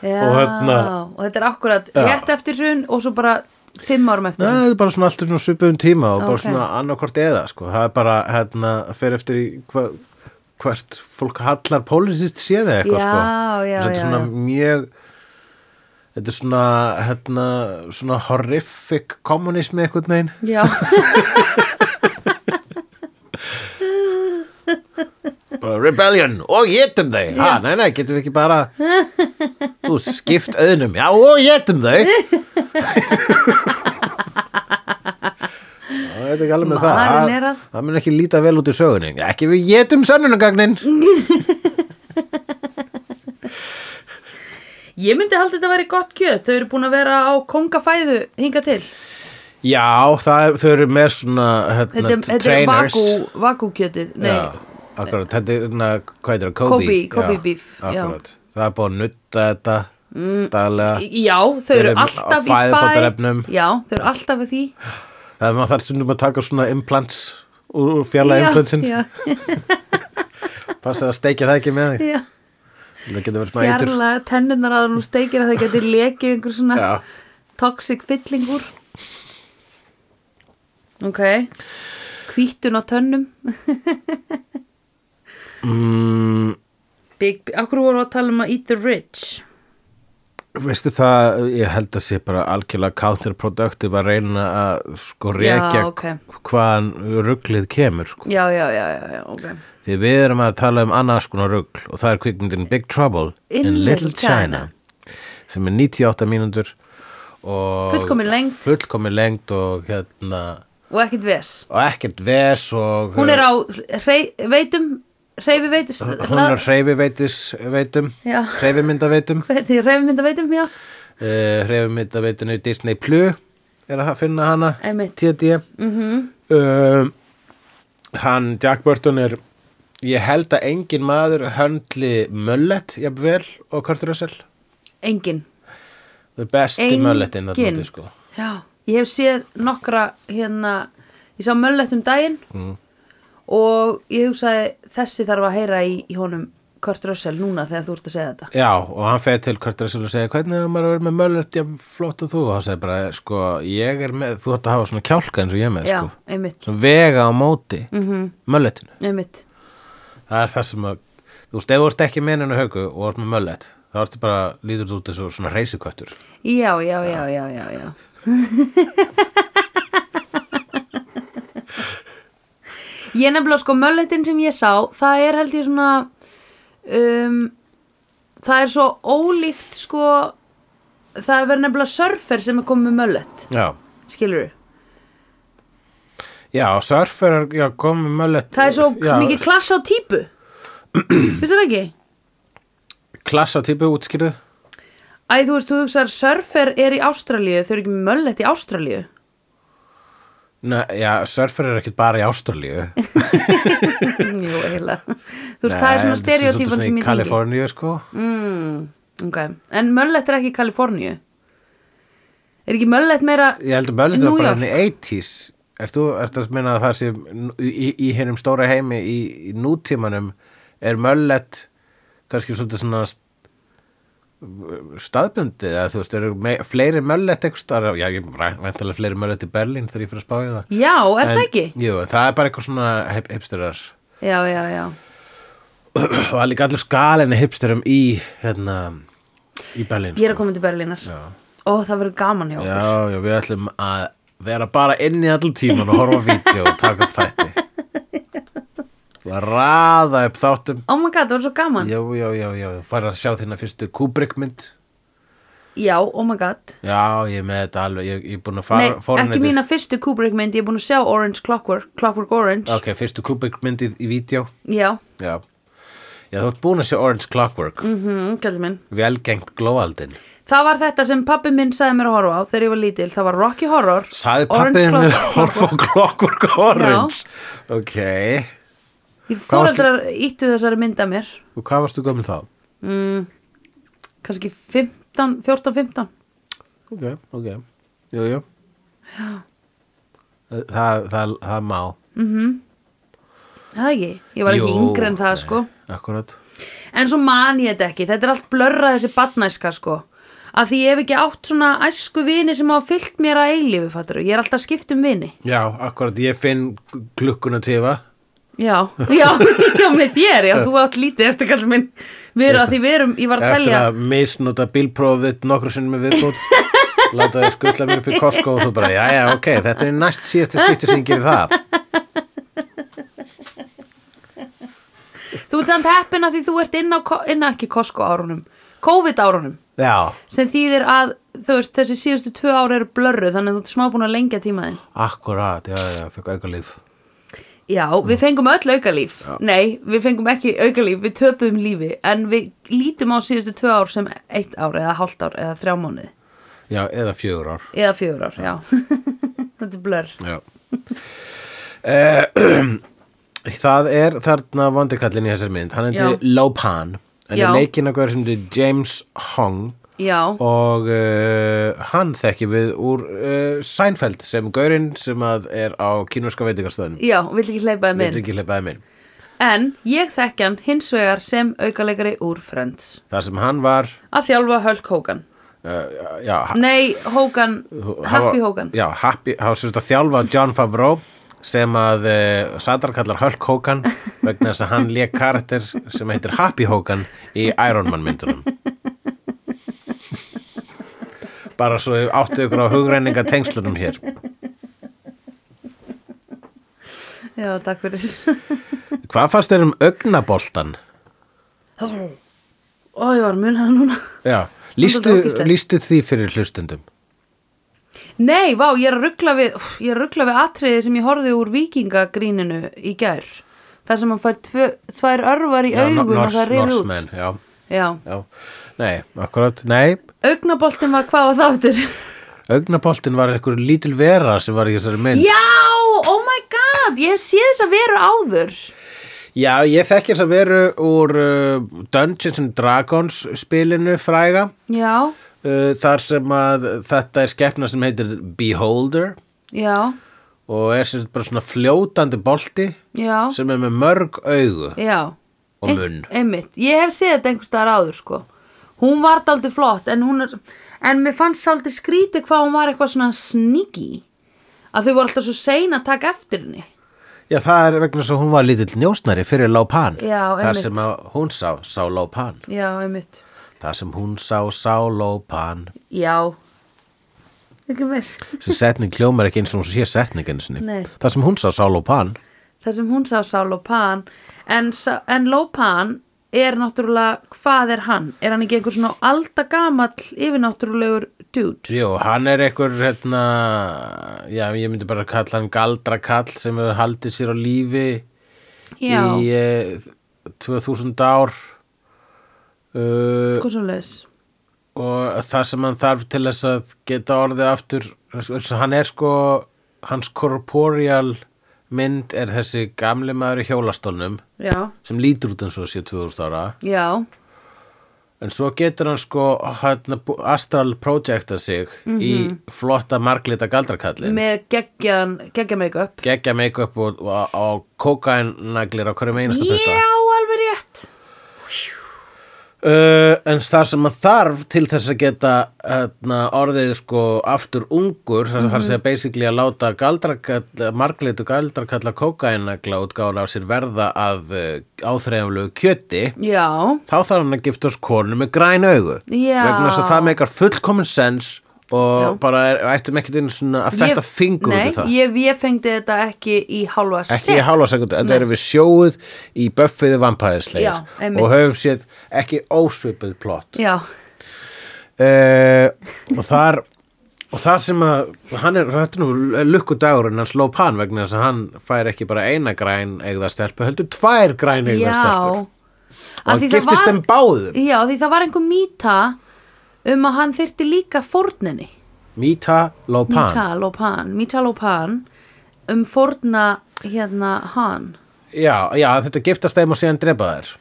[SPEAKER 2] Já,
[SPEAKER 1] [LAUGHS] Og hérna-
[SPEAKER 2] og þetta er akkurat
[SPEAKER 1] Já.
[SPEAKER 2] rétt eftir hrun og svo bara fimm árum eftir
[SPEAKER 1] Nei,
[SPEAKER 2] hrun.
[SPEAKER 1] það er bara svona alltaf svona svipum tíma og bara
[SPEAKER 2] Ókei.
[SPEAKER 1] svona annarkvort eða sko. það er bara hérna fyrir eftir í hva, hvert fólk hallar pólisist séð eða eitthvað
[SPEAKER 2] Já,
[SPEAKER 1] sko.
[SPEAKER 2] já, já,
[SPEAKER 1] þetta er svona
[SPEAKER 2] já.
[SPEAKER 1] mjög þetta er svona hérna, svona horrific kommunismi eitthvað neginn
[SPEAKER 2] Já,
[SPEAKER 1] bara Uh, rebellion og getum þau ha, nei, nei, getum við ekki bara þú skipt öðnum, já, og getum
[SPEAKER 2] [LAUGHS]
[SPEAKER 1] þau Já, Þetta er ekki alveg með það
[SPEAKER 2] Maðurinn er
[SPEAKER 1] Það-
[SPEAKER 2] að-
[SPEAKER 1] Það mun ekki líta vel út í sögunni Já, Ekki við getum sönnunagagnin
[SPEAKER 2] ég myndi haldi þetta væri gott kjöt, þau eru búin að vera á kongafæðu hinga til.
[SPEAKER 1] Já, það, er- þau eru með svona hérna,
[SPEAKER 2] Þetta, er- þetta er
[SPEAKER 1] trainers
[SPEAKER 2] vaku, vakukjötið, nei,
[SPEAKER 1] Já, akkurat, þetta er, na, hvað heitir það, Kobe
[SPEAKER 2] Kobe, Kobe
[SPEAKER 1] já,
[SPEAKER 2] beef, já.
[SPEAKER 1] Akkurat, það er búið að nutta þetta mm, daglega
[SPEAKER 2] já, þau eru
[SPEAKER 1] eru á
[SPEAKER 2] alltaf í
[SPEAKER 1] fæðubótarefnum.
[SPEAKER 2] spæ, já, þau eru alltaf að því.
[SPEAKER 1] Það er maður þarf stundum að taka svona implants úr fjarlæg implantsinn
[SPEAKER 2] Já,
[SPEAKER 1] Passa að steikja það ekki með
[SPEAKER 2] já,
[SPEAKER 1] þig
[SPEAKER 2] já,
[SPEAKER 1] Það getur verið smá eitur
[SPEAKER 2] fjarlæga tennunar að hún steikir að það getur lekið einhver svona
[SPEAKER 1] Já.
[SPEAKER 2] toxic fylling úr. Ok, hvítun á tönnum.
[SPEAKER 1] mm,
[SPEAKER 2] Big, akkur voru að tala um að eat the rich
[SPEAKER 1] Veistu það, ég held að sé bara algjörlega counterproductive að reyna að sko rekja
[SPEAKER 2] ok.
[SPEAKER 1] hvaðan rugglið kemur sko.
[SPEAKER 2] Já, já, já, já, já ok
[SPEAKER 1] Því við erum að tala um annars konar ruggl og það er kvikmyndin Big Trouble in, Little China. sem er 98 mínútur og
[SPEAKER 2] Fullkomin lengd.
[SPEAKER 1] fullkomin lengd og hérna
[SPEAKER 2] Og ekkert ves
[SPEAKER 1] og ekkert ves og
[SPEAKER 2] Hún er á hrei, veitum, reyfi veitum
[SPEAKER 1] Eh. hún er hreyfiveitis veitum
[SPEAKER 2] Já. [LAUGHS]
[SPEAKER 1] hreyfimyndaveitum
[SPEAKER 2] Því reyfmynda veitum, já
[SPEAKER 1] uh, hreyfimyndaveitinu Disney Plus er að finna hana
[SPEAKER 2] Einmitt.
[SPEAKER 1] TD mm hann Jack Burton er ég held að engin maður höndli Mullet jafnvel og Kurt Russell
[SPEAKER 2] Engin
[SPEAKER 1] það er besti
[SPEAKER 2] Engin.
[SPEAKER 1] Mulletinn þarna úti, sko.
[SPEAKER 2] Já, ég hef séð nokkra hérna Ég sá möllett um daginn
[SPEAKER 1] Mm.
[SPEAKER 2] Og ég hugsaði Þessi þarf að heyra í, í honum Kurt Russell núna þegar þú ert að segja þetta
[SPEAKER 1] Já, og hann fegði til Kurt Russell og segja hvernig er maður að vera með Mullet jafn flott og þú og hann segir bara, sko, ég er með þú ætti að hafa svona kjálka eins og ég er með
[SPEAKER 2] Já,
[SPEAKER 1] sko.
[SPEAKER 2] einmitt, Mhm,
[SPEAKER 1] Svona vega á móti mm -hmm. Mulletinu
[SPEAKER 2] einmitt
[SPEAKER 1] það er það sem að þú veist, ef þú ert ekki með henni haugu og ert með möllet þá ertu bara, lítur þú út þessu svona reysiköttur
[SPEAKER 2] Já, já, já, já, já, já Ég nefnilega sko mölletin sem ég sá, það er held ég svona um, það er svo ólíkt sko það er verið nefnilega surfer sem er komið með möllett,
[SPEAKER 1] já,
[SPEAKER 2] skilur við
[SPEAKER 1] já, surferar já, kom með möllet
[SPEAKER 2] Það er svo
[SPEAKER 1] já,
[SPEAKER 2] mikið klass á típu Vissir það ekki?
[SPEAKER 1] klassa típu útskýrðu
[SPEAKER 2] Æ, þú veist, þú hugsar surfer er í Ástralíu, þau eru ekki með möllett í Ástralíu [LAUGHS]
[SPEAKER 1] Nei, já, surferar er ekkit bara í Ástralíu
[SPEAKER 2] Jú, eiginlega Þú veist, það er svona stereotípan sem ég
[SPEAKER 1] í
[SPEAKER 2] tengi.
[SPEAKER 1] Kaliforníu, sko
[SPEAKER 2] Mm, ok, en Möllett er ekki í Kaliforníu Er ekki Möllett meira
[SPEAKER 1] ég held að möllet
[SPEAKER 2] New
[SPEAKER 1] er bara
[SPEAKER 2] York.
[SPEAKER 1] enn í 80s Ert þú, ert að meina að það sem í, í, í hinnum stóra heimi í, í nútímanum er möllet kannski svolítið svona st- staðbundið eða þú veist, eru me, fleiri möllet eitthvað starf, já, ég væntalega fleiri möllet í Berlín þegar ég fyrir að spá í það
[SPEAKER 2] Já, er það ekki?
[SPEAKER 1] Jú, það er bara eitthvað svona hip, hipsterar [CLEARS THROAT]
[SPEAKER 2] Já, já, já
[SPEAKER 1] og það er líka allir skalinni hipsterum í hérna, í Berlín sko.
[SPEAKER 2] Ég er að koma til Berlínar
[SPEAKER 1] Já.
[SPEAKER 2] Ó, það verður gaman hjá okkur
[SPEAKER 1] Já, já, við ætlum að vera bara inn í allan tíman og horfa á vídeo og taka upp þætti
[SPEAKER 2] [LAUGHS]
[SPEAKER 1] og raða upp þáttum
[SPEAKER 2] Oh my god, það verður svo gaman
[SPEAKER 1] Já, já, já, já, fara að sjá þína fyrstu Kubrick mynd
[SPEAKER 2] já, oh my god
[SPEAKER 1] Já, ég er með þetta alveg, ég, ég er búin að
[SPEAKER 2] Nei,
[SPEAKER 1] fara fór hann
[SPEAKER 2] ekki
[SPEAKER 1] þetta-
[SPEAKER 2] mína fyrstu Kubrick mynd, ég er búin að sjá Orange Clockwork Clockwork Orange
[SPEAKER 1] Ok, fyrstu Kubrick myndið í vídeo
[SPEAKER 2] Já,
[SPEAKER 1] Já, já þú ert búin að sjá Orange Clockwork mm.
[SPEAKER 2] mhm, kallið minn
[SPEAKER 1] Velgengt glóaldin
[SPEAKER 2] Það var þetta sem pappi minn sagði mér að horfa á þegar ég var lítil, það var Rocky Horror
[SPEAKER 1] Saði
[SPEAKER 2] Orange
[SPEAKER 1] pappiðin
[SPEAKER 2] Clock-
[SPEAKER 1] að horfa á
[SPEAKER 2] [LAUGHS]
[SPEAKER 1] Clockwork Orange Ok,
[SPEAKER 2] Ég Fóreldrar íttu þessari mynd að mér
[SPEAKER 1] og hvað varstu gömul þá?
[SPEAKER 2] mm, kannski 15, 14-15
[SPEAKER 1] Ok, ok, jú, jú Það, það, það, það má
[SPEAKER 2] Það ekki, ég var ekki
[SPEAKER 1] Jú,
[SPEAKER 2] yngri en það
[SPEAKER 1] nei,
[SPEAKER 2] sko
[SPEAKER 1] Akkurat
[SPEAKER 2] En svo man ég þetta ekki, þetta er allt blörrað þessi badnæska sko Að því ég hef ekki átt svona æsku vini sem hafa fyllt mér að eilífi, fattur Ég er alltaf skipt um vini
[SPEAKER 1] Já, akkurat, ég finn klukkuna tifa
[SPEAKER 2] Já, [LAUGHS] já, já, með þér, já, þú átt lítið eftir kallum minn Við erum að því við erum, ég var að
[SPEAKER 1] Eftir
[SPEAKER 2] telja
[SPEAKER 1] að misnota bílprófið nokkru sinni með
[SPEAKER 2] [LAUGHS]
[SPEAKER 1] viðbútt Láta þið skulla mér upp í Costco og þú bara, já, já, ok, þetta er næst síðasta skipti sem ég gerir það
[SPEAKER 2] Þú ert samt heppin að því þú ert inn á, ko- inn á ekki Costco árunum COVID árunum
[SPEAKER 1] Já,
[SPEAKER 2] sem þýðir að þú veist, þessi síðustu tvö ára eru blörru þannig að þú ert smá búin að lengja tímaðin
[SPEAKER 1] akkurat, já, já, fekk auka líf
[SPEAKER 2] Já, við fengum öll aukalíf Nei, við fengum ekki aukalíf, við töpuðum lífi en við lítum á síðustu tvö ár sem eitt ár eða hálft ár eða þrjá mánuði
[SPEAKER 1] Já, eða fjögur ár
[SPEAKER 2] eða fjögur ár, já [LAUGHS] Þetta er blörr
[SPEAKER 1] Já [LAUGHS] eh, [CLEARS THROAT] Það er þarna vondikallin í þessari mynd Hann
[SPEAKER 2] Já.
[SPEAKER 1] heiti Lopan En
[SPEAKER 2] Já.
[SPEAKER 1] er leikinn að hverja sem heiti James Hong
[SPEAKER 2] Já,
[SPEAKER 1] og uh, hann þekki við úr uh, Seinfeld sem gaurinn sem að er á kínverska veitingastöðunum
[SPEAKER 2] já, vill ekki hleypaði
[SPEAKER 1] Við
[SPEAKER 2] minn
[SPEAKER 1] ekki hleipaði minn
[SPEAKER 2] En ég þekki hann hins vegar sem aukaleikari úr Friends
[SPEAKER 1] Það sem hann var
[SPEAKER 2] að þjálfa Hulk Hogan
[SPEAKER 1] uh, já, ha-
[SPEAKER 2] Nei, Hogan,
[SPEAKER 1] hann var-
[SPEAKER 2] Happy Hogan
[SPEAKER 1] Já, Happy, hann var sérst að þjálfa John Favreau sem að uh, Sadar kallar Hulk
[SPEAKER 2] [LAUGHS]
[SPEAKER 1] Hogan vegna þess að hann lék karakter sem heitir Happy Hogan í Iron Man myndunum bara svo þau áttu ykkur á hugræninga tengslunum hér
[SPEAKER 2] Já, takk fyrir [LAUGHS]
[SPEAKER 1] Hvað fannst þér um augnaboltan?
[SPEAKER 2] Ó, ég var að muna það núna
[SPEAKER 1] Já,
[SPEAKER 2] Þetta
[SPEAKER 1] lístu,
[SPEAKER 2] er ógeðslegt.
[SPEAKER 1] lístu því fyrir hlustendum
[SPEAKER 2] Nei, vá, ég er að ruggla við úff, ég er að ruggla við atriði sem ég horfði úr vikingagríninu í gær þar sem hann fær tvö, tvær örvar í augun og það reyði
[SPEAKER 1] Norsmen,
[SPEAKER 2] út
[SPEAKER 1] já,
[SPEAKER 2] Já,
[SPEAKER 1] já Nei, akkurat, nei
[SPEAKER 2] augnaboltin var hvað var þáttur
[SPEAKER 1] Augnaboltin var einhver lítil vera sem var í þessari mynd
[SPEAKER 2] Já, oh my god ég hef séð þess að vera áður
[SPEAKER 1] Já, ég þekki þess að veru úr uh, Dungeons and Dragons spilinu fræga
[SPEAKER 2] Já,
[SPEAKER 1] uh, þar sem að þetta er skepna sem heitir Beholder
[SPEAKER 2] já,
[SPEAKER 1] og er sem sagt bara svona fljótandi bolti
[SPEAKER 2] já Eh.
[SPEAKER 1] sem er með mörg augu
[SPEAKER 2] Já
[SPEAKER 1] Og
[SPEAKER 2] Ein-
[SPEAKER 1] munn.
[SPEAKER 2] Einmitt, ég hef séð þetta einhvers staðar áður sko Hún var daldið flott en hún er En mér fannst daldið skrítið hvað hún var eitthvað svona sneaky Að þau voru alltaf svo sein að taka eftir henni
[SPEAKER 1] Já, það er vegna svo hún var lítill njósnari fyrir Lópan
[SPEAKER 2] Já,
[SPEAKER 1] þar
[SPEAKER 2] einmitt.
[SPEAKER 1] sem að hún sá, sá Lópan
[SPEAKER 2] Já, einmitt
[SPEAKER 1] þar sem hún sá, sá Lópan
[SPEAKER 2] Já Ekki meir
[SPEAKER 1] sem setning kljómar ekki eins og hún sé setningin sinni
[SPEAKER 2] Nei.
[SPEAKER 1] þar sem hún sá, sá Lópan
[SPEAKER 2] Það sem hún sá sá Lopan En, sá- en Lopan er náttúrulega, hvað er hann? Er hann ekki einhver svona aldagamall yfirnáttúrulegur dude?
[SPEAKER 1] Jú, hann er einhver hérna, já, ég myndi bara kalla hann galdrakall sem hefur haldið sér á lífi
[SPEAKER 2] Já,
[SPEAKER 1] í eh, 2000 ár uh,
[SPEAKER 2] hvað svo leis?
[SPEAKER 1] og það sem hann þarf til þess að geta orðið aftur, þess að hann er sko, hans korporeal mynd er þessi gamli maður í hjólastólnum
[SPEAKER 2] Já,
[SPEAKER 1] sem lítur út eins og sé 2000 ára
[SPEAKER 2] já,
[SPEAKER 1] en svo getur hann sko hérna, bú- astral projecta sig í flotta marglita galdrakallin
[SPEAKER 2] með geggjan, geggja make-up
[SPEAKER 1] geggja make-up og, og, og kókainaglir á hverjum einasta
[SPEAKER 2] Já,
[SPEAKER 1] putta
[SPEAKER 2] alveg rétt
[SPEAKER 1] uh, en það sem að þarf til þess að geta hérna, orðið sko aftur ungur mm
[SPEAKER 2] Mhm.
[SPEAKER 1] -hmm. þar sem basically að láta galdrakall, marglitu galdrakalla kókainagla útgára á sér verða að uh, áþreiflegu kjöti
[SPEAKER 2] Já,
[SPEAKER 1] þá þarf hann að giftast konu með græn augu
[SPEAKER 2] Já.
[SPEAKER 1] vegna þess að það meikar fullkomin sens og
[SPEAKER 2] Já.
[SPEAKER 1] bara er, ættum ekkert einu svona að fetta fingur út
[SPEAKER 2] Nei,
[SPEAKER 1] í það
[SPEAKER 2] ég, ég fengdi þetta ekki í hálfa
[SPEAKER 1] ekki í
[SPEAKER 2] sekk.
[SPEAKER 1] hálfa sekundu, þetta erum við sjóuð í böffiði
[SPEAKER 2] Já,
[SPEAKER 1] vampæðisleir
[SPEAKER 2] einmitt.
[SPEAKER 1] og höfum séð ekki ósvipið plott
[SPEAKER 2] Já,
[SPEAKER 1] uh, og þar og þar sem að hann er, þetta er nú lukkudagurinn hann sló pan vegna þess að hann fær ekki bara eina græn eigða stelpu, heldur tvær græn eigða stelpur og
[SPEAKER 2] Af
[SPEAKER 1] hann
[SPEAKER 2] því það
[SPEAKER 1] giftist
[SPEAKER 2] var-
[SPEAKER 1] þeim báðum
[SPEAKER 2] Já, því það var einhver mýta um að hann þyrti líka fórninni
[SPEAKER 1] Mita Lopan
[SPEAKER 2] Mítalopan Mítalopan um fórna hérna hann
[SPEAKER 1] já, já, þetta giftast þeim og síðan drepa þær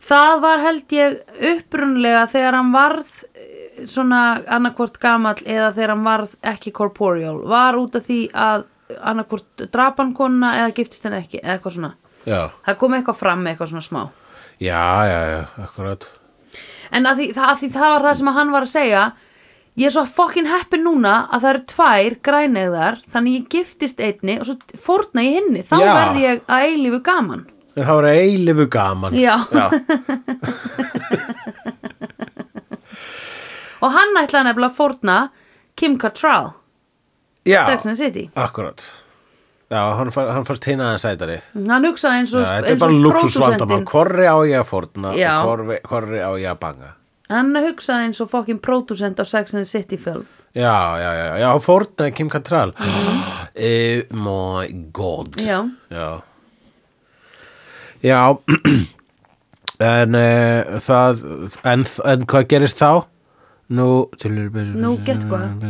[SPEAKER 2] Það var held ég upprunlega þegar hann varð eh, svona annarkvort gamall eða þegar hann varð ekki corporeal var út af því að annarkvort drapan konuna eða giftist henni ekki eða eitthvað svona
[SPEAKER 1] já,
[SPEAKER 2] það kom eitthvað fram með eitthvað svona smá
[SPEAKER 1] já, já, já, akkurat
[SPEAKER 2] en að því, það, að því það var það sem að hann var að segja ég er svo fokkin heppin núna að það eru tvær grænegðar þannig ég giftist einni og svo fórna ég hinni þá
[SPEAKER 1] Já.
[SPEAKER 2] verð ég að eilífu gaman
[SPEAKER 1] en það var eilifu gaman
[SPEAKER 2] Já. [LAUGHS]
[SPEAKER 1] já.
[SPEAKER 2] og hann ætlaði nefnilega að fórna Kim Cattrall,
[SPEAKER 1] Já,
[SPEAKER 2] Sex and the City
[SPEAKER 1] akkurat Já, hann, far, hann fannst hinn aðeins sætari
[SPEAKER 2] hann hugsaði eins
[SPEAKER 1] Já,
[SPEAKER 2] og
[SPEAKER 1] Þetta er
[SPEAKER 2] eins og
[SPEAKER 1] bara luxusvandamál
[SPEAKER 2] pródúsentinn.
[SPEAKER 1] Hvorri á ég að fórna
[SPEAKER 2] Já.
[SPEAKER 1] og hvorri, hvorri á ég að banga
[SPEAKER 2] hann hugsaði eins og fokkin pródusent á Sex and the City film
[SPEAKER 1] Já, já, já, já, hann fórnaði Kim Cattrall [GASPS] Oh my god
[SPEAKER 2] Já.
[SPEAKER 1] Já, Já, [CLEARS THROAT] En uh, það en, en hvað gerist þá? Nú,
[SPEAKER 2] nú gett hvað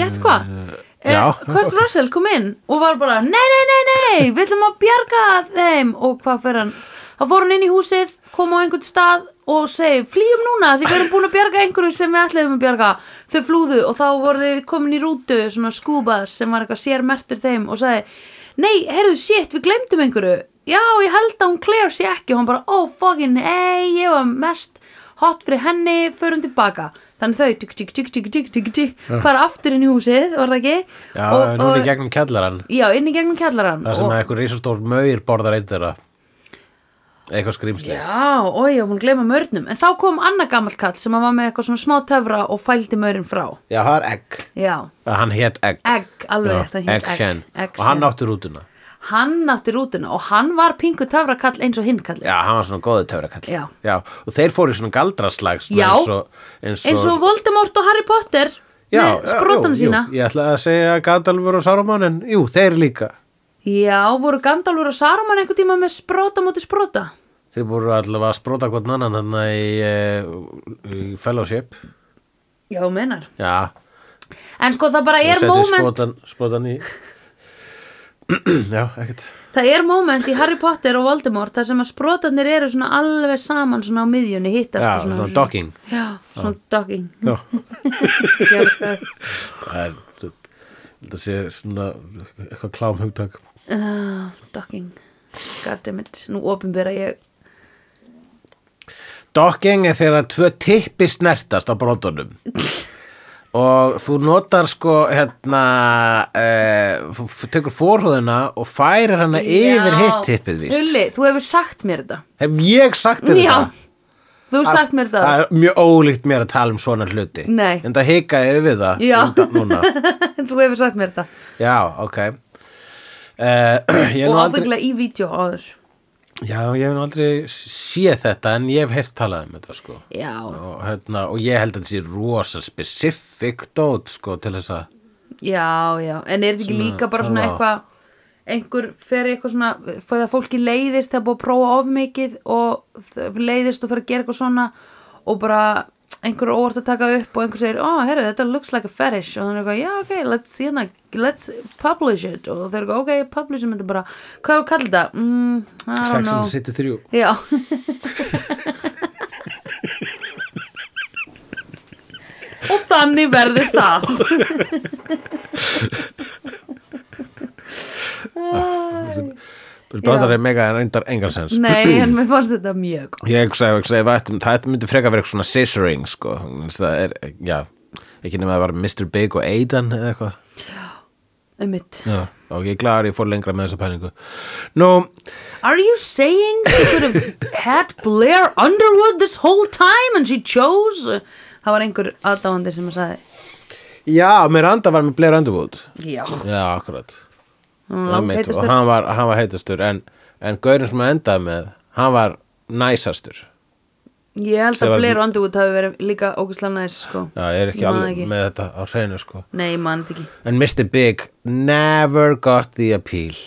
[SPEAKER 2] gett hvað Eh,
[SPEAKER 1] Já.
[SPEAKER 2] Kurt Russell kom inn og var bara nei, nei, nei, nei, við ætlum að bjarga þeim og hvað fyrir hann þá fór hann inn í húsið, kom á einhvern stað og segi, flýjum núna því við erum búin að bjarga einhverju sem við ætlaðum að bjarga þau flúðu og þá voru þau komin í rútu svona skúbas sem var eitthvað sérmertur þeim og sagði, nei, heyrðu, shit við glemdum einhverju, já, ég held að hún Claire sé ekki og hann bara, oh, fucking ei, ég var mest hot fyrir henni, förum tilbaka þannig þau, tík, tík, tík, tík, tík, tík, tík fara aftur inn í húsið, var það ekki
[SPEAKER 1] Já,
[SPEAKER 2] Og-
[SPEAKER 1] núna
[SPEAKER 2] og-
[SPEAKER 1] í gegnum kellaran
[SPEAKER 2] Já, inn í gegnum kjallarann
[SPEAKER 1] Það sem
[SPEAKER 2] og,
[SPEAKER 1] að eitthvað risastór maur borðar einn þeirra Eitthvað skrýmsli
[SPEAKER 2] Já, oi, ég var búin að gleyma mörnum En þá kom annað gamall kall sem að var með eitthvað svona smá töfra og fældi mörinn frá
[SPEAKER 1] Já, það er egg
[SPEAKER 2] Já,
[SPEAKER 1] Eða Hann hét egg
[SPEAKER 2] egg, alveg rétt hann hét
[SPEAKER 1] Egg Shen
[SPEAKER 2] Egg
[SPEAKER 1] Og hann
[SPEAKER 2] Shen.
[SPEAKER 1] átti rútuna
[SPEAKER 2] Hann átti rútuna og hann var pingu töfrakall eins og hinn kall
[SPEAKER 1] Já, hann var svona góðu töfrakall
[SPEAKER 2] Já.
[SPEAKER 1] Og þeir fóru í svona galdraslag svona
[SPEAKER 2] Já.
[SPEAKER 1] eins og, eins og,
[SPEAKER 2] Eins og Voldemort og Harry Potter
[SPEAKER 1] Já,
[SPEAKER 2] með
[SPEAKER 1] já,
[SPEAKER 2] sprótana
[SPEAKER 1] jú,
[SPEAKER 2] sína
[SPEAKER 1] jú, Ég ætlaði að segja Gandalfur og Saruman En jú, þeir líka
[SPEAKER 2] Já, voru Gandalfur og Saruman einhvern tíma með spróta móti spróta
[SPEAKER 1] Þeir voru allavega að spróta hvort annan Þannig í, eh, í fellowship
[SPEAKER 2] Já, þú meinar
[SPEAKER 1] Já,
[SPEAKER 2] En sko það bara er
[SPEAKER 1] settu
[SPEAKER 2] moment
[SPEAKER 1] spótan, spótan í [CLEARS THROAT] Já, ekkert
[SPEAKER 2] Það er moment í Harry Potter og Voldemort þar sem að sprótarnir eru svona alveg saman svona á miðjunni hittast
[SPEAKER 1] Já,
[SPEAKER 2] og
[SPEAKER 1] svona docking.
[SPEAKER 2] Já, svona docking
[SPEAKER 1] Já
[SPEAKER 2] Já,
[SPEAKER 1] Það er, þú- ég held að sé svona eitthvað klám hugtak
[SPEAKER 2] uh, docking Goddammit, nú opinbera ég
[SPEAKER 1] Docking er þegar tvö tippi snertast á brotunum og þú notar sko hérna uh, þú þú tekur fórhúðuna og færir hana yfir
[SPEAKER 2] Já.
[SPEAKER 1] hitt tippið víst
[SPEAKER 2] Hulli, þú hefur sagt mér þetta
[SPEAKER 1] Hef ég sagt þér
[SPEAKER 2] Já,
[SPEAKER 1] þetta?
[SPEAKER 2] þú hefur sagt mér þetta
[SPEAKER 1] Það er mjög ólíkt mér að tala um svona hluti
[SPEAKER 2] Nei.
[SPEAKER 1] En það hikaði við það
[SPEAKER 2] Já.
[SPEAKER 1] um það núna
[SPEAKER 2] [LAUGHS] Þú hefur sagt mér þetta
[SPEAKER 1] Já, ok uh, [CLEARS THROAT] Ég er
[SPEAKER 2] Og
[SPEAKER 1] nú aldrei
[SPEAKER 2] ábygglega í vídeo áður
[SPEAKER 1] Já, ég hef nú aldrei séð þetta en ég hef heyrt talað um þetta sko
[SPEAKER 2] Já,
[SPEAKER 1] og, hérna, og ég held að þetta sé rosa specific dót sko til þess að
[SPEAKER 2] já, já En er þetta ekki líka bara svona
[SPEAKER 1] já.
[SPEAKER 2] eitthvað einhver fer í eitthvað svona fyrir að fólki leiðist þegar búið að prófa of mikið og þ- leiðist og fer að gera eitthvað svona og bara einhver er óvart að taka upp og einhver segir, ó, oh, herru, þetta looks like a fetish og hann er eitthvað, já, ok, let's, hérna, let's publish it og þeir eru eitthvað, ok, publishum þetta bara, hvað er að kalla þetta? Mm, I don't
[SPEAKER 1] Sex
[SPEAKER 2] know.
[SPEAKER 1] and the City 3
[SPEAKER 2] Já Og þannig verður það
[SPEAKER 1] Brandar er mega reyndar engalsens
[SPEAKER 2] Nei, en mér fannst þetta mjög gott.
[SPEAKER 1] Ég hugsaði, hugsaði, vættum, það myndi frekar verið svona scissoring sko Þannig að það er, já, ekki nema að það var Mr. Big og Aiden eða eitthvað
[SPEAKER 2] Einmitt.
[SPEAKER 1] Já, og ég er glaður að ég fór lengra með þessa pælingu Nú,
[SPEAKER 2] Are you saying she could have had Blair Underwood this whole time and she chose Það var einhver aðdáandi sem að sagði
[SPEAKER 1] já, Miranda var með Blair Underwood
[SPEAKER 2] Já
[SPEAKER 1] Já, akkurat
[SPEAKER 2] Hún
[SPEAKER 1] Einmitt, Og
[SPEAKER 2] langheitast
[SPEAKER 1] hann var, hann var heitastur en, en gaurinn sem hann endaði með, hann var næsastur
[SPEAKER 2] Ég held
[SPEAKER 1] Sem
[SPEAKER 2] að
[SPEAKER 1] var-
[SPEAKER 2] Blair Underwood hafi verið líka ógæslega næs sko.
[SPEAKER 1] Já, ég er
[SPEAKER 2] Ég
[SPEAKER 1] ekki
[SPEAKER 2] man
[SPEAKER 1] alveg
[SPEAKER 2] ekki.
[SPEAKER 1] með þetta á hreinu sko
[SPEAKER 2] Nei, ég man þetta ekki
[SPEAKER 1] En Mr. Big never got the appeal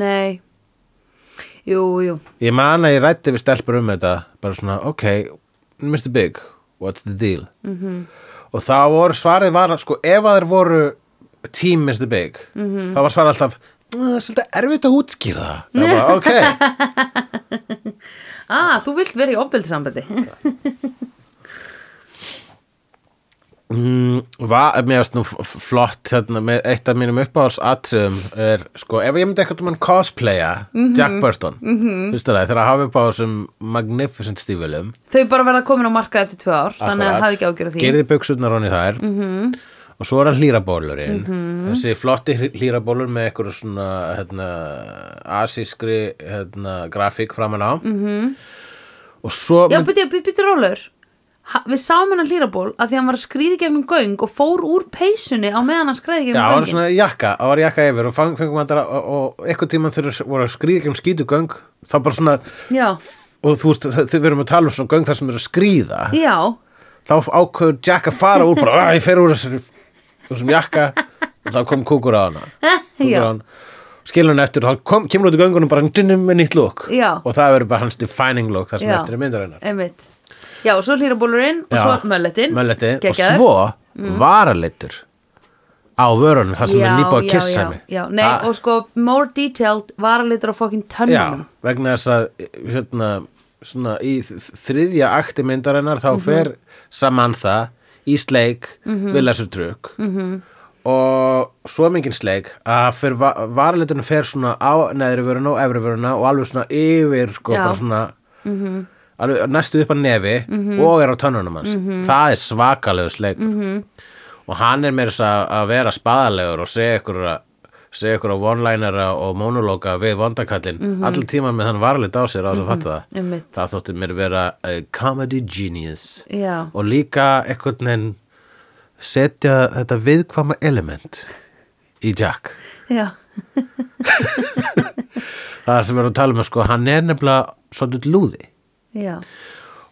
[SPEAKER 2] Nei Jú, jú
[SPEAKER 1] Ég man að ég rætti við stelpur um þetta bara svona, ok, Mr. Big what's the deal
[SPEAKER 2] Mhm.
[SPEAKER 1] -hmm. og þá voru svarið var sko, ef að þeir voru team Mr. Big
[SPEAKER 2] Mhm.
[SPEAKER 1] -hmm. þá var svarið alltaf "Mm, það er svolítið erfitt að útskýra það
[SPEAKER 2] [LAUGHS]
[SPEAKER 1] það var ok,
[SPEAKER 2] Ah, þú vilt vera í ofbeldisambandi
[SPEAKER 1] mm, va, mér finnst nú f- f- flott hérna, með eitt af mínum uppáhalds atriðum er, sko, ef ég myndi eitthvað um hann cosplaya
[SPEAKER 2] Mhm.
[SPEAKER 1] Jack Burton mm -hmm. það, þegar að hafa upp á þessum magnificent stífilum
[SPEAKER 2] [LAUGHS] Þau bara verða komin á markað eftir tvö ár Þannig að
[SPEAKER 1] Akkurat.
[SPEAKER 2] hafði ekki ágjör því Mhm.
[SPEAKER 1] Gerði buxurnar honni þær -hmm. Og svo er hann hlýrabólurinn Þessi flotti hlýrabólur með eitthvað svona hérna, asískri hérna, grafík framan á -hmm. Og svo
[SPEAKER 2] Mhm. Já, byrja, byrja, byrja rólur ha, Við sáum hennar hlýraból að því hann var að skrýði gegnum göng og fór úr peysunni á meðan hann skræði
[SPEAKER 1] Já,
[SPEAKER 2] gegnum
[SPEAKER 1] það var
[SPEAKER 2] göngin
[SPEAKER 1] svona jakka, það var jakka yfir og fang- fengum hann og, og eitthvað tíma þegar þeir voru að skrýða ekki um skítugöng þá bara svona,
[SPEAKER 2] Já,
[SPEAKER 1] og þú veist, þau- þau verðum að tala um svona göng þar sem eru að skrýða
[SPEAKER 2] já
[SPEAKER 1] þá ákveður Jack að fara úr bara, "Ah, ég fer úr þessari- þessum jakka og þá kom kúkur á hana
[SPEAKER 2] [LAUGHS] Já.
[SPEAKER 1] Kúkur á hana. skilur hann eftir og þá kom, kemur út í göngunum bara dynum með nýtt lúk
[SPEAKER 2] Já.
[SPEAKER 1] og það verður bara hans defining lúk það sem
[SPEAKER 2] Já.
[SPEAKER 1] eftir er myndar hennar
[SPEAKER 2] Einmitt Já, og svo hlýrabólurinn og svo mölletin
[SPEAKER 1] Mölletti og svo varalitur á vörunum það sem er nýbúið að kissa
[SPEAKER 2] já,
[SPEAKER 1] mig
[SPEAKER 2] já, nei,
[SPEAKER 1] Það-
[SPEAKER 2] og sko more detailed varalitur á fokkin tönnum
[SPEAKER 1] Já, vegna þess að hérna, svona, í þ- þriðja akti myndarinnar þá fer Samantha í sleik við lesur trukk -hmm. og svo mingin sleik að fer, va- varaliturinn fer svona á neðri vöruna og efri vöruna og alveg svona yfir sko,
[SPEAKER 2] Já.
[SPEAKER 1] bara svona hérna, alveg næstu upp að nefi og er á tönnunum hans það er svakalegu sleik -hmm. og hann er meira þess að, að vera spaðalegur og segja ykkur að segja ykkur á one-linera og monologa við vondakallin, mm allir tíma með hann varlit á sér á þess að fatta það
[SPEAKER 2] Einmitt.
[SPEAKER 1] það þótti mér vera a comedy genius
[SPEAKER 2] Já.
[SPEAKER 1] og líka einhvern veginn setja þetta viðkvæma element í Jack
[SPEAKER 2] já,
[SPEAKER 1] það sem við erum að tala um sko, hann er nefnilega svolítið lúði
[SPEAKER 2] já,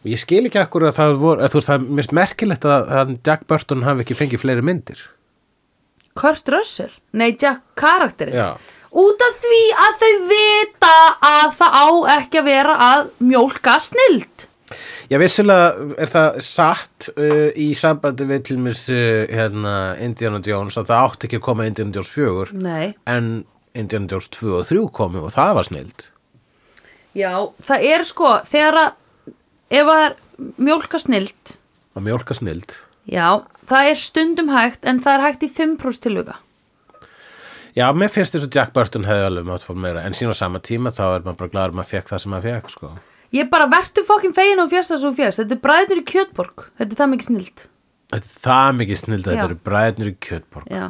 [SPEAKER 1] og ég skil ekki akkur að það voru að þú veist það er mest merkilegt að, að Jack Burton hafi ekki fengið fleiri myndir
[SPEAKER 2] Kurt Russell nei, Jack karakterinn
[SPEAKER 1] Já.
[SPEAKER 2] út af því að þau vita að það á ekki að vera að mjólka snild
[SPEAKER 1] já vissulega er það satt uh, í sambandi við til mér uh, hérna, Indiana Jones að það átti ekki að koma Indiana Jones 4
[SPEAKER 2] nei,
[SPEAKER 1] en Indiana Jones 2 og 3 komu og það var snild
[SPEAKER 2] já, það er sko þegar að ef að það er mjólka snild
[SPEAKER 1] og mjólka snild
[SPEAKER 2] já, það er stundum hægt en það er hægt í 5% tilhuga
[SPEAKER 1] já mér finnst þess að Jack Burton hefði alveg mátt fór meira en síðan á sama tíma þá er maður bara gladur maður fekk það sem maður fekk sko.
[SPEAKER 2] ég bara vertu fokkin fegin og fjast það sem þú fjast þetta er bræðnur í kjötborg, þetta er það mikið snild
[SPEAKER 1] þetta er það mikið snild að
[SPEAKER 2] Já.
[SPEAKER 1] þetta eru bræðnir í kjötborg
[SPEAKER 2] já,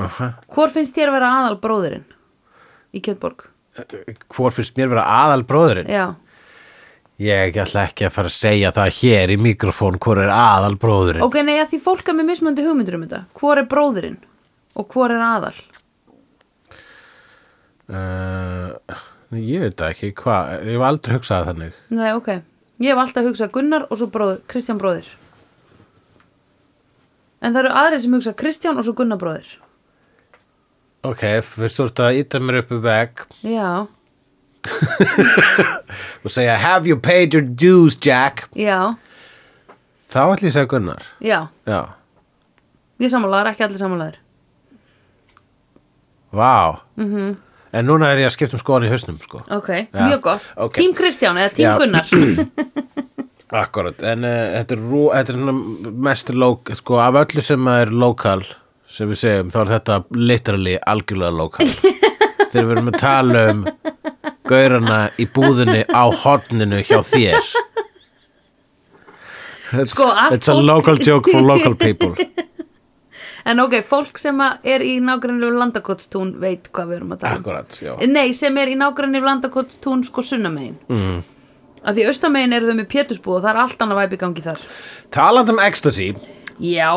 [SPEAKER 1] uh
[SPEAKER 2] hvor finnst þér að vera aðal bróðurinn í kjötborg
[SPEAKER 1] hvor finnst mér vera aðal bróðurinn
[SPEAKER 2] já,
[SPEAKER 1] Ég ætla ekki að fara að segja það hér í mikrofón hvor er aðal bróðurinn.
[SPEAKER 2] Ok, nei, að því fólk er með mismunandi hugmyndur um þetta. Hvor er bróðirinn og hvor er aðal?
[SPEAKER 1] Uh, ég veit það ekki, hvað, ég hef aldrei hugsað þannig.
[SPEAKER 2] Nei, ok. Ég hef alltaf hugsað Gunnar og svo bróður, Kristján bróðir. En það eru aðrir sem hugsa Kristján og svo Gunnar bróðir.
[SPEAKER 1] Ok, fyrst þú ert að íta mér upp í vegg
[SPEAKER 2] Já,
[SPEAKER 1] og segja Have you paid your dues, Jack?
[SPEAKER 2] já,
[SPEAKER 1] Þá ætla ég að segja Gunnar.
[SPEAKER 2] já.
[SPEAKER 1] Já.
[SPEAKER 2] Ég samanlagar, ekki allir samanlagar.
[SPEAKER 1] Vá. Mm -hmm. En núna er ég að skipta um skoðan í hausnum, sko.
[SPEAKER 2] Mhm, Ok,
[SPEAKER 1] Já,
[SPEAKER 2] mjög gott.
[SPEAKER 1] ok.
[SPEAKER 2] Tím Kristján eða tím
[SPEAKER 1] Já.
[SPEAKER 2] Gunnar.
[SPEAKER 1] [CLEARS THROAT] Akkurat, en uh, þetta er, rú, þetta er svona mest lók, sko, af öllu sem er lokal, sem við segjum, þá er þetta literally algjörlega lokal. Þegar við erum að tala um gaurana í búðinni á horninu hjá þér. It's,
[SPEAKER 2] Sko, allt
[SPEAKER 1] it's a
[SPEAKER 2] fólk-
[SPEAKER 1] local joke for local people.
[SPEAKER 2] En ok, fólk sem að er í nágrannlegu landakotstún veit hvað við erum að tala um.
[SPEAKER 1] Akkurat, já.
[SPEAKER 2] Nei, sem er í nágrann yfir landakotstún sko sunnamegin mm. Af því austamegin eru þau með pétusbú og það er allt annað væp í gangi þar
[SPEAKER 1] Taland um ecstasy,
[SPEAKER 2] Já [LAUGHS]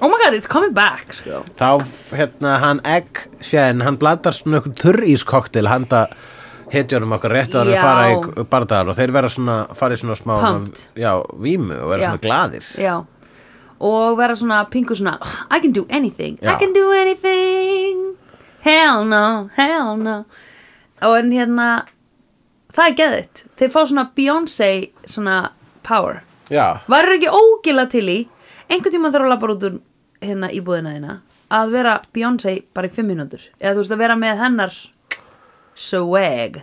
[SPEAKER 2] Oh my god, it's coming back sko.
[SPEAKER 1] þá, hérna, hann Egg Shen, hann blandar svona ykkur þurrískoktil handa hetjónum okkar rétt að
[SPEAKER 2] Já.
[SPEAKER 1] hann fara í bardaðar og þeir vera svona, fara í svona smá
[SPEAKER 2] Pumped.
[SPEAKER 1] já, vímu og vera
[SPEAKER 2] Já.
[SPEAKER 1] svona glaðir
[SPEAKER 2] Já Og vera svona pingu svona I can do anything, I
[SPEAKER 1] Já.
[SPEAKER 2] can do anything Hell no, hell no Og en hérna Það er geðitt Þeir fá svona Beyoncé svona power
[SPEAKER 1] já,
[SPEAKER 2] Varur ekki ógila til í Einhvern tímann þarf að labba út úr hérna íbúðina þína Að vera Beyoncé bara í fimm mínútur Eða þú veist að vera með hennar Swag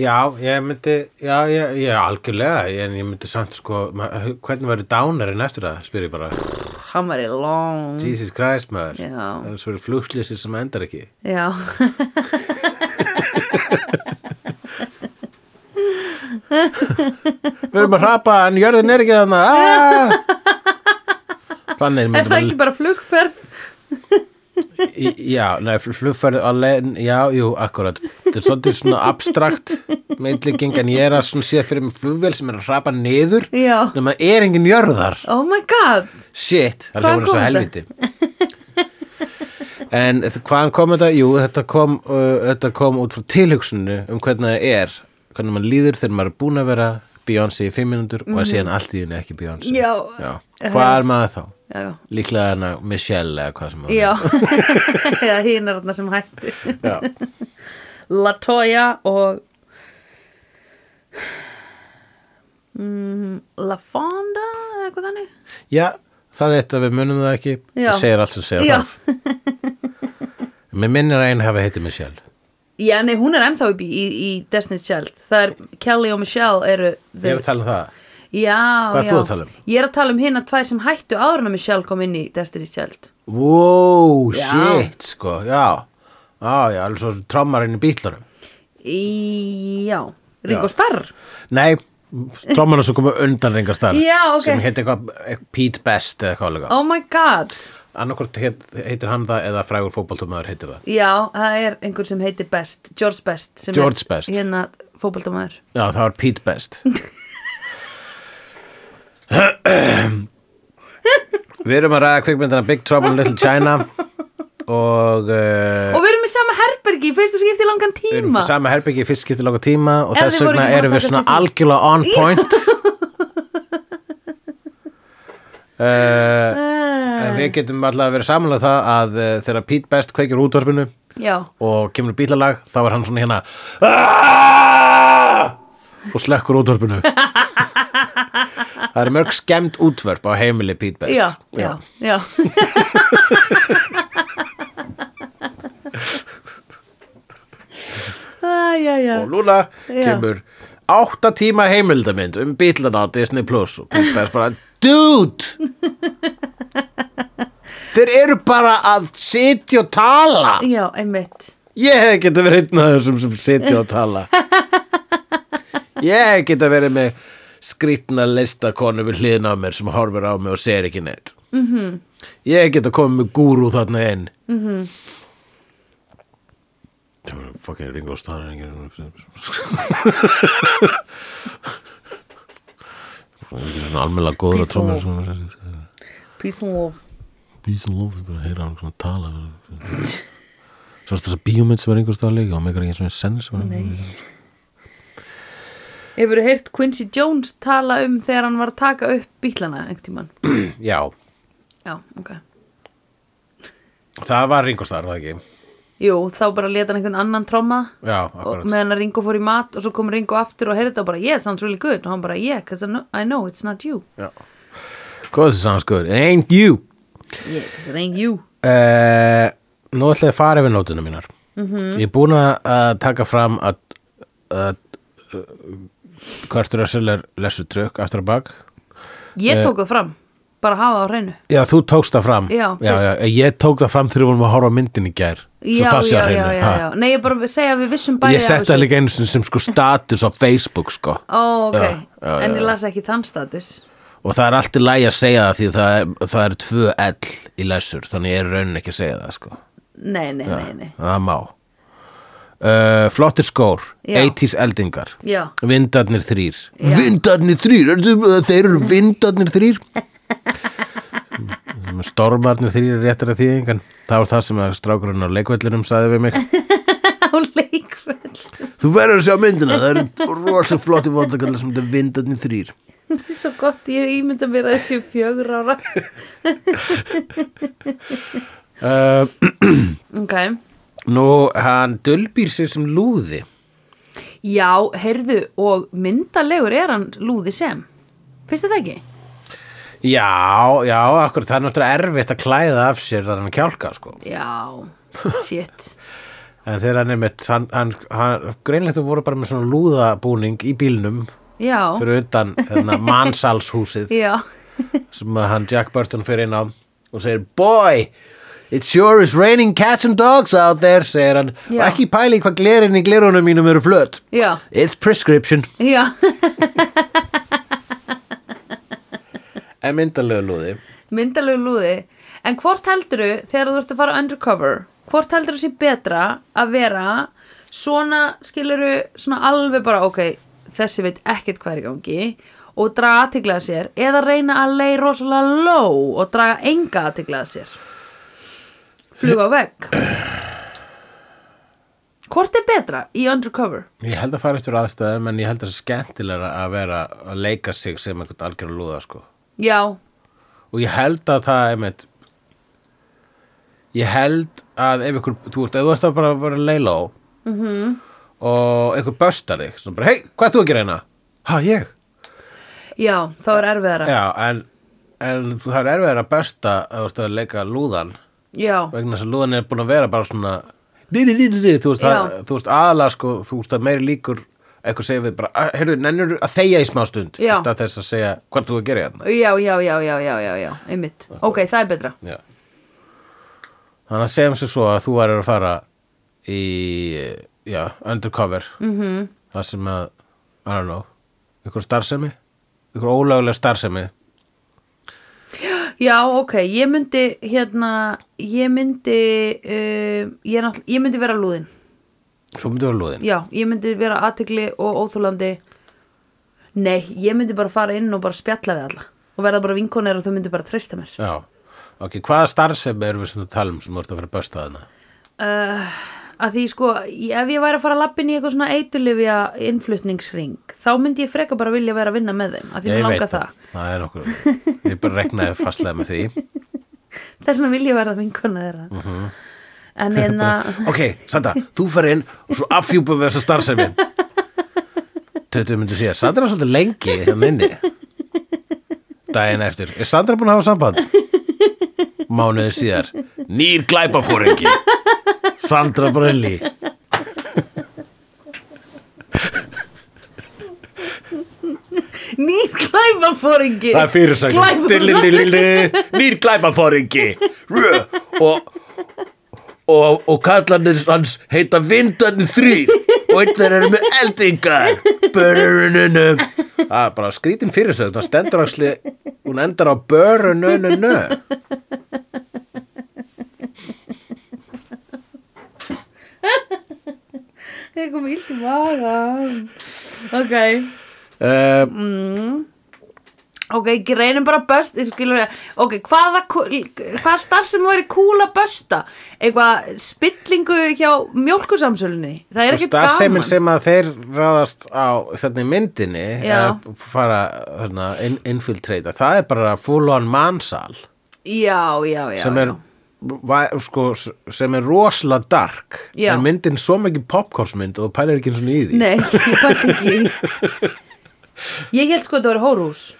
[SPEAKER 1] já, ég myndi já, ég, ég algjörlega en ég myndi samt sko, ma- hvernig verður dánarinn eftir það, spyr ég bara
[SPEAKER 2] Hann var í long
[SPEAKER 1] Jesus Christ maður,
[SPEAKER 2] Mm. Já.
[SPEAKER 1] það er svona flugslýsir sem endar ekki
[SPEAKER 2] Já
[SPEAKER 1] við erum að hrapa en jörðin er ekki
[SPEAKER 2] [LAUGHS]
[SPEAKER 1] þannig aaaah
[SPEAKER 2] Er
[SPEAKER 1] Þannig
[SPEAKER 2] það ekki
[SPEAKER 1] myndum
[SPEAKER 2] bara flugferð?
[SPEAKER 1] við, já, nei, flugferð á leiðin, já, jú, akkurat, þetta er svolítið svona abstrakt meitliking en ég er að svona séð fyrir mig flugvél sem er að hrapa niður,
[SPEAKER 2] Já
[SPEAKER 1] nema er engin jörðar,
[SPEAKER 2] Oh my god
[SPEAKER 1] shit, það
[SPEAKER 2] Hvaðan
[SPEAKER 1] hljóður svo
[SPEAKER 2] kom
[SPEAKER 1] helviti. En þ- hvaðan kom þetta? Jú, þetta kom, uh, þetta kom út frá tilhugsuninu um hvernig það er, hvernig mann líður þegar maður er búin að vera Beyoncé í fimm mínútur og að síðan allt í henni ekki Beyoncé.
[SPEAKER 2] Mhm. Já. Eh.
[SPEAKER 1] Hvað er maður þá?
[SPEAKER 2] Já,
[SPEAKER 1] Líklega hana Michelle eða hvað sem hún
[SPEAKER 2] já. [LAUGHS] eða hínar þarna sem hættu
[SPEAKER 1] Já.
[SPEAKER 2] Latoya og mm, Lafonda eða eitthvað þannig
[SPEAKER 1] Já, það er eitt að við munum það ekki
[SPEAKER 2] Já.
[SPEAKER 1] Það segir allt sem segja
[SPEAKER 2] Já.
[SPEAKER 1] það Mér minnir að einu hafi heitið Michelle
[SPEAKER 2] Já, nei, hún er ennþá upp í, í, í Destiny's Child Það er Kelly og Michelle eru
[SPEAKER 1] Ég er að tala um það
[SPEAKER 2] Já,
[SPEAKER 1] Hvað ert
[SPEAKER 2] já
[SPEAKER 1] þú að tala um?
[SPEAKER 2] Ég er að tala um hérna tvær sem hættu áður en að Michelle kom inn í Destiny's Child
[SPEAKER 1] Wow,
[SPEAKER 2] Já.
[SPEAKER 1] shit, sko, já Já, já, alveg svo trommarinn í bítlunum
[SPEAKER 2] í, Já,
[SPEAKER 1] Já.
[SPEAKER 2] Ringo Starr
[SPEAKER 1] Nei, trommarinn sem komu undan ringar starf
[SPEAKER 2] Já, ok.
[SPEAKER 1] Sem heit eitthvað eitthvað Pete Best eða eitthvað alveg
[SPEAKER 2] Oh my god
[SPEAKER 1] Annarkvort heit, heitir hann það eða frægur fótboltumöður heitir það
[SPEAKER 2] Já, það er einhver sem heitir Best George Best sem
[SPEAKER 1] George
[SPEAKER 2] er
[SPEAKER 1] Best.
[SPEAKER 2] Hérna fótbaldamaður
[SPEAKER 1] Já, það var Pete Best Við erum að ræða kvikmyndina Big Trouble in Little China og uh,
[SPEAKER 2] Og við erum í sama herbergi í fyrsta skipti í langan
[SPEAKER 1] við erum
[SPEAKER 2] tíma
[SPEAKER 1] sama herbyggi í fyrst skipti langa tíma og
[SPEAKER 2] Ef
[SPEAKER 1] þess
[SPEAKER 2] þið voru
[SPEAKER 1] vegna
[SPEAKER 2] ekki búin að
[SPEAKER 1] erum við
[SPEAKER 2] taka
[SPEAKER 1] svona
[SPEAKER 2] eftir því.
[SPEAKER 1] algjörlega on
[SPEAKER 2] [LAUGHS]
[SPEAKER 1] point uh,
[SPEAKER 2] Eh.
[SPEAKER 1] en Við getum alltaf að vera samanlega það að uh, þegar Pete Best kveikir útvarpinu
[SPEAKER 2] Já,
[SPEAKER 1] og kemur bílalag þá er hann svona hérna "Aaaah!" og slekkur útvörpinu það er mörg skemmt útvörp á heimili Pete Best
[SPEAKER 2] já, já, já [LAUGHS] Æ, já, já
[SPEAKER 1] og núna
[SPEAKER 2] Já.
[SPEAKER 1] kemur átta tíma heimildamind um bílana á Disney Plus og Pete Best bara
[SPEAKER 2] [LAUGHS]
[SPEAKER 1] dude þeir eru bara að sitja og tala
[SPEAKER 2] Já, einmitt
[SPEAKER 1] Ég hef geta verið einn af þessum sem sitja og tala Ég hef geta verið með skrýtna listakonu við hliðin á mér sem horfir á mig og segir ekki neitt mm -hmm. Ég hef geta komið með gúrú þarna inn mm -hmm. Fucking Ringo Starr er ekki- Ekki svona almennilega góður að
[SPEAKER 2] Peace
[SPEAKER 1] tróma
[SPEAKER 2] and Peace and love
[SPEAKER 1] Peace and love, ég bara heyra hann svona tala Svo þess að bíómynd sem er einhvers staðar leika og meikar ekki svona sens Nei
[SPEAKER 2] Hefurðu heyrt Quincy Jones tala um þegar hann var að taka upp bílana einhvern tímann?
[SPEAKER 1] Já,
[SPEAKER 2] Já, ok
[SPEAKER 1] það var Ringo Starr, var það ekki
[SPEAKER 2] Jú, þá bara leta hann einhvern annan tromma
[SPEAKER 1] Já,
[SPEAKER 2] og
[SPEAKER 1] akkurat
[SPEAKER 2] meðan að Ringo fór í mat og svo kom Ringo aftur og heyrði það bara yes, sounds really good og hann bara yeah, cause I know, I know it's not you
[SPEAKER 1] Já. Hvað þessi sounds good, it ain't you
[SPEAKER 2] yeah, cause it ain't you
[SPEAKER 1] uh, Nú ætla ég að fara yfir nótuna mínar
[SPEAKER 2] Mhm.
[SPEAKER 1] Ég er búin að- að taka fram að, að Kvartur Össel er lesur trökk aftur að bak
[SPEAKER 2] ég tók það fram, bara hafa það á hreinu
[SPEAKER 1] Já, þú tókst það fram
[SPEAKER 2] Já,
[SPEAKER 1] já,
[SPEAKER 2] fyrst.
[SPEAKER 1] Ég tók það fram þegar við vorum að horfa á myndin í gær Svo
[SPEAKER 2] já,
[SPEAKER 1] það sé
[SPEAKER 2] já,
[SPEAKER 1] að
[SPEAKER 2] já,
[SPEAKER 1] hreinu,
[SPEAKER 2] já,
[SPEAKER 1] ha.
[SPEAKER 2] já nei, ég bara segja að við vissum bæði
[SPEAKER 1] Ég setti það líka einu sinni sem sko status á Facebook sko
[SPEAKER 2] ó, ok,
[SPEAKER 1] Já, já,
[SPEAKER 2] en ég las ekki þann status
[SPEAKER 1] Og það er allt í lagi að segja það því það er, það er tvö L í læsur þannig ég er raunin ekki að segja það sko
[SPEAKER 2] nei, nei, nei, nei,
[SPEAKER 1] Það má uh, Flottir skór,
[SPEAKER 2] Já.
[SPEAKER 1] 80s eldingar
[SPEAKER 2] já [LAUGHS]
[SPEAKER 1] Vindarnir þrýr Vindarnir þrýr, er, þeir eru vindarnir þrýr Mm, Stormarnir þrýr er réttara þýðingan Það var það sem að strákurinn á leikvellinum saði við mig
[SPEAKER 2] á leikvöld
[SPEAKER 1] Þú verður að sjá myndina, það eru rosa flotti vondakallar sem þetta vindarnir þrýr.
[SPEAKER 2] [LAUGHS] Svo gott, ég ímynda mér að þessi fjögur
[SPEAKER 1] [LAUGHS]
[SPEAKER 2] ára
[SPEAKER 1] Uh,
[SPEAKER 2] Ok,
[SPEAKER 1] nú, hann dölbýr sér sem lúði.
[SPEAKER 2] já, heyrðu og myndalegur er hann lúði sem Finnst þið það ekki?
[SPEAKER 1] Já, já, akkur, það er náttúrulega erfitt að klæða af sér þar hann kjálka, sko. [LAUGHS]
[SPEAKER 2] Já, shit
[SPEAKER 1] En þegar hann er mitt, hann, hann, hann greinlegt þú voru bara með svona lúðabúning í bílnum
[SPEAKER 2] Já,
[SPEAKER 1] fyrir utan hérna, mannsalshúsið
[SPEAKER 2] já
[SPEAKER 1] sem að hann Jack Burton fyrir inn á og segir, boy, it sure is raining cats and dogs out there, segir hann, og
[SPEAKER 2] Já.
[SPEAKER 1] ekki pæli hvað glerin í glerunum mínum eru flött.
[SPEAKER 2] Já,
[SPEAKER 1] It's prescription.
[SPEAKER 2] já,
[SPEAKER 1] En myndalögu lúði.
[SPEAKER 2] myndalegur lúði En hvort heldurðu þegar þú ert að fara undercover Hvort heldurðu sé betra að vera Svona skilurðu svona alveg bara Ok, þessi veit ekkert hvað er í gangi Og draga aðtiklaða sér Eða reyna að leið rosalega low Og draga enga aðtiklaða sér Fluga á vegg Hvort er betra í undercover?
[SPEAKER 1] Ég held að fara eftir aðstæðum en ég held að það er skemmtilega að vera að leika sig sem einhvern algjörn lúða sko.
[SPEAKER 2] Já,
[SPEAKER 1] Og ég held að það, einmitt, ég held að ef ykkur, þú ert, ef þú ert að bara vera leila á og einhver böstar þig, svona bara, hei, hvað ert þú að gera hérna? Ha, ég?
[SPEAKER 2] já, þá er erfiðara
[SPEAKER 1] Já, en, en þú- það er erfiðar að bösta að þú ert að leika lúðan
[SPEAKER 2] já.
[SPEAKER 1] vegna þess að lúðan er búin að vera bara svona dýri, dýri, dýri, þú veist,
[SPEAKER 2] Já.
[SPEAKER 1] það, þú veist aðalega sko, þú veist að meiri líkur eitthvað segir við bara, heyrðu, nennur að þegja í smá stund í
[SPEAKER 2] Já.
[SPEAKER 1] stað þess að segja hvað þú að gera hérna
[SPEAKER 2] Já, já, já, já, já, já, já, einmitt Ok, það er betra
[SPEAKER 1] Já. þannig að segjum sér svo að þú varir að fara í, já, undercover
[SPEAKER 2] Mhm.
[SPEAKER 1] -hmm. það sem að I don't know, ykkur starfsemi ykkur ólögulega starfsemi
[SPEAKER 2] Já, ok, ég myndi hérna, ég myndi uh, ég, er náttúrulega- ég myndi vera lúðin
[SPEAKER 1] þú myndir vera lúðin
[SPEAKER 2] Já, ég myndi vera aðtegli og óþúlandi Nei, ég myndi bara fara inn og bara spjalla við alla og verða bara vinkonir og þau myndi bara treysta mér
[SPEAKER 1] Já. ok, hvaða starfsemi erum við sem þú talum sem þú ert að fara að bösta þarna
[SPEAKER 2] uh, að því sko ég- ef ég væri að fara að lappin í eitthvað svona eitulifja innflutningsring þá myndi ég freka bara vilja vera að vinna með þeim að því
[SPEAKER 1] Ég
[SPEAKER 2] mér
[SPEAKER 1] veit
[SPEAKER 2] langa það
[SPEAKER 1] Það er okkur, ég bara regnaði fastlega með því
[SPEAKER 2] þess vegna vil ég verða vinkona þeirra
[SPEAKER 1] Mhm.
[SPEAKER 2] en hérna
[SPEAKER 1] [LAUGHS] Ok, Sandra, þú fer inn og svo afhjúpa við þessa starfsemi 20 myndir síðar Sandra er svolítið lengi þannig inni Daginn eftir, er Sandra búin að hafa samband? Mánuði síðar Nýr glæpafóringi Sandra Brölli
[SPEAKER 2] Nýr glæpafóringi
[SPEAKER 1] Það er fyrirsækjum Dilililili, Nýr glæpafóringi Rö, Og Og, og kallanir hans heita vindarnir þrýr og einn þeir eru með eldingar Börununu Það er bara skrítin fyrir sig það stendur að sli hún endar á börununu
[SPEAKER 2] Það kom illt í magan Ok Mm.
[SPEAKER 1] uh,
[SPEAKER 2] Ok, greinum bara böst ég skilur ég- Ok, hvaða kú- hvaða starf sem væri kúla bösta eitthvað spillingu hjá mjólkusamsölunni Það er ekkert
[SPEAKER 1] Sko, Starfsemin
[SPEAKER 2] gaman
[SPEAKER 1] sem að þeir ráðast á þarna í myndinni
[SPEAKER 2] Já.
[SPEAKER 1] að fara hérna, in, infiltrata það er bara full on mannsal
[SPEAKER 2] Já, já, já
[SPEAKER 1] sem er
[SPEAKER 2] já.
[SPEAKER 1] va- sko, s- sem er rosalega dark
[SPEAKER 2] Já.
[SPEAKER 1] en myndin svo mikið popcornsmynd og þú pælir ekki eins og í því
[SPEAKER 2] Nei, ég bætti ekki í því. Ég held sko að það var hórhús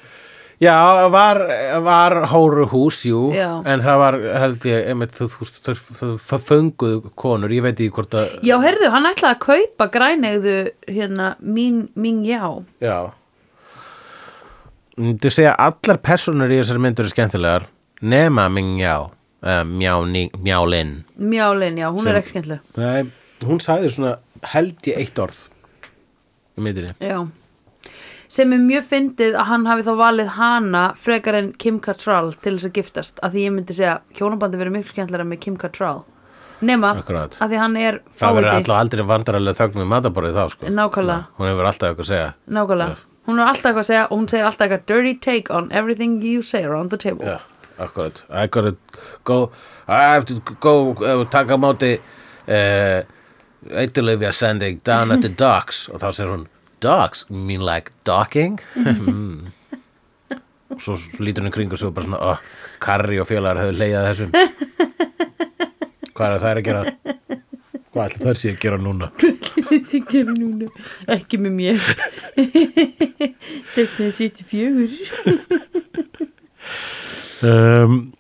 [SPEAKER 1] já, var, var hóru hús, jú
[SPEAKER 2] Já.
[SPEAKER 1] en það var, held ég, einmitt þú, þú, þú, þú, þú fönguðu konur ég veit ekki hvort að
[SPEAKER 2] Já, heyrðu, hann ætlaði að kaupa grænegðu hérna, mín, mín já
[SPEAKER 1] já þú segja að allar personur í þessari myndur eru skemmtilegar nema mingjá uh, mjáni, mjálin
[SPEAKER 2] Mjálin, já, hún er ekki skemmtileg
[SPEAKER 1] Nei, hún sagði svona held ég eitt orð í myndinni
[SPEAKER 2] Já sem er mjög fyndið að hann hafi þá valið hana frekar en Kim Cattrall til þess að giftast að því ég myndi segja hjónabandi verið miklu skemmtlara með Kim Cattrall nema
[SPEAKER 1] Akkurát.
[SPEAKER 2] að því hann er
[SPEAKER 1] Það verður
[SPEAKER 2] fáiði
[SPEAKER 1] alltaf aldrei vandaralega þögn við mataborðið þá sko.
[SPEAKER 2] Nákvæmlega.
[SPEAKER 1] Nei, Hún hefur alltaf eitthvað að segja.
[SPEAKER 2] nákvæmlega, hún er alltaf eitthvað að segja og hún segir alltaf eitthvað dirty take on everything you say around the table [LAUGHS]
[SPEAKER 1] Já, akkurat. I eh, gotta go, I have to go uh, taka á móti uh, Eitilöfja sending down at the docks og þá segir hún Docks? You mean like docking? Mm. svo lítur hún í kring og svo bara svona oh, Karri og félagar höfðu leiðað þessum Hvað er það að gera? Hvað ætla þær sé að gera núna?
[SPEAKER 2] Þessi gerir núna ekki með mér 674
[SPEAKER 1] Um,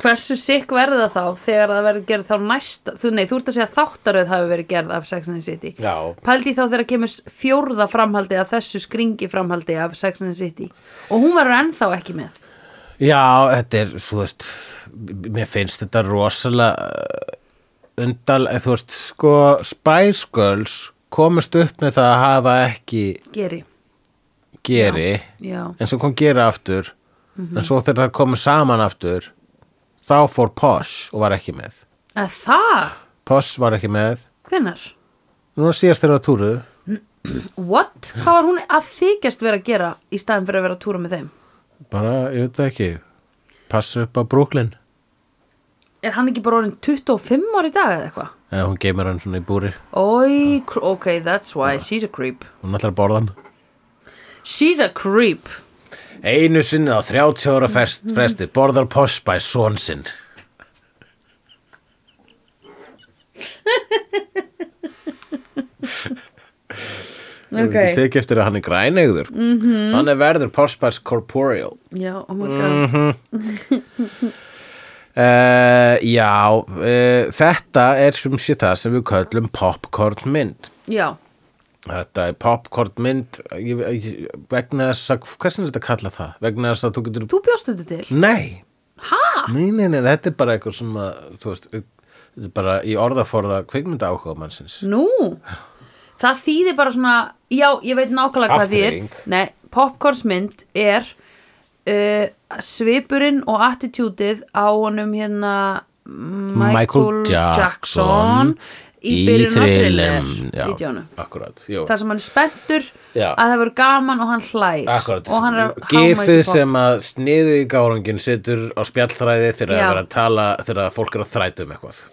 [SPEAKER 2] Hversu sikk verða þá þegar það verður gerð þá næsta þú, nei, þú ert að segja að þáttaröð hafi verið gerð af Sex and the City
[SPEAKER 1] já
[SPEAKER 2] Pældi þá þegar kemur s- fjórða framhaldi af þessu skringi framhaldi af Sex and the City og hún verður ennþá ekki með
[SPEAKER 1] Já, þetta er, þú veist, mér finnst þetta rosalega uh, undal, eh, þú veist, sko, Spice Girls komast upp með það að hafa ekki
[SPEAKER 2] Geri,
[SPEAKER 1] geri,
[SPEAKER 2] já,
[SPEAKER 1] en svo kom geri aftur, en svo þegar það komið saman aftur, þá fór Posh og var ekki með.
[SPEAKER 2] að það
[SPEAKER 1] Posh var ekki með,
[SPEAKER 2] hvenar?
[SPEAKER 1] núna síðast þeirra á túru,
[SPEAKER 2] What? Hvað var hún að þykjast vera að gera í staðin fyrir að vera að túra með þeim?
[SPEAKER 1] bara, ég veit það ekki, passa upp á Brooklyn,
[SPEAKER 2] Er hann ekki bara orðin 25 ára í dag eða eitthvað?
[SPEAKER 1] eða hún geymir hann svona í búri,
[SPEAKER 2] Oi, cr- ok, that's why, she's a creep
[SPEAKER 1] hún ætlar að borða hann.
[SPEAKER 2] She's a creep
[SPEAKER 1] Einu sinni á 30 ára fest,
[SPEAKER 2] Mm.
[SPEAKER 1] fresti borðar postbæ són sinn. Ég
[SPEAKER 2] Ok, Mhm.
[SPEAKER 1] tek eftir að hann er grænegður. Mm -hmm. Þannig verður postbæs corporeal.
[SPEAKER 2] já, oh my god
[SPEAKER 1] Uh, já, uh, þetta er sem sé það sem við köllum popcornmynd.
[SPEAKER 2] Já,
[SPEAKER 1] Þetta er popcornmynd ég- ég- vegna þess að, hversin er þetta að kalla það? Vegna þess að þú getur...
[SPEAKER 2] þú bjóst þetta til
[SPEAKER 1] Nei,
[SPEAKER 2] Ha?
[SPEAKER 1] nei, nei, nei, þetta er bara eitthvað sem að, þú veist, þetta er bara í orðaforða kvikmynda áhuga mannsins.
[SPEAKER 2] Nú Það þýðir bara svona Já, ég veit nákvæmlega hvað því er
[SPEAKER 1] Afþreying.
[SPEAKER 2] Nei, popcornsmynd er uh, svipurinn og attitútið á honum hérna Michael, Jackson, í byrjun á thriller
[SPEAKER 1] já,
[SPEAKER 2] vídeónu.
[SPEAKER 1] akkurat, jú,
[SPEAKER 2] þar sem hann er spenntur
[SPEAKER 1] Já.
[SPEAKER 2] að það verður gaman og hann hlær
[SPEAKER 1] akkurat
[SPEAKER 2] og hann er að háma í
[SPEAKER 1] gifið
[SPEAKER 2] sig pop-
[SPEAKER 1] sem að sniðu í gárangin setur á spjallþræði þegar
[SPEAKER 2] Já.
[SPEAKER 1] að vera að tala þegar fólk er að þræta um eitthvað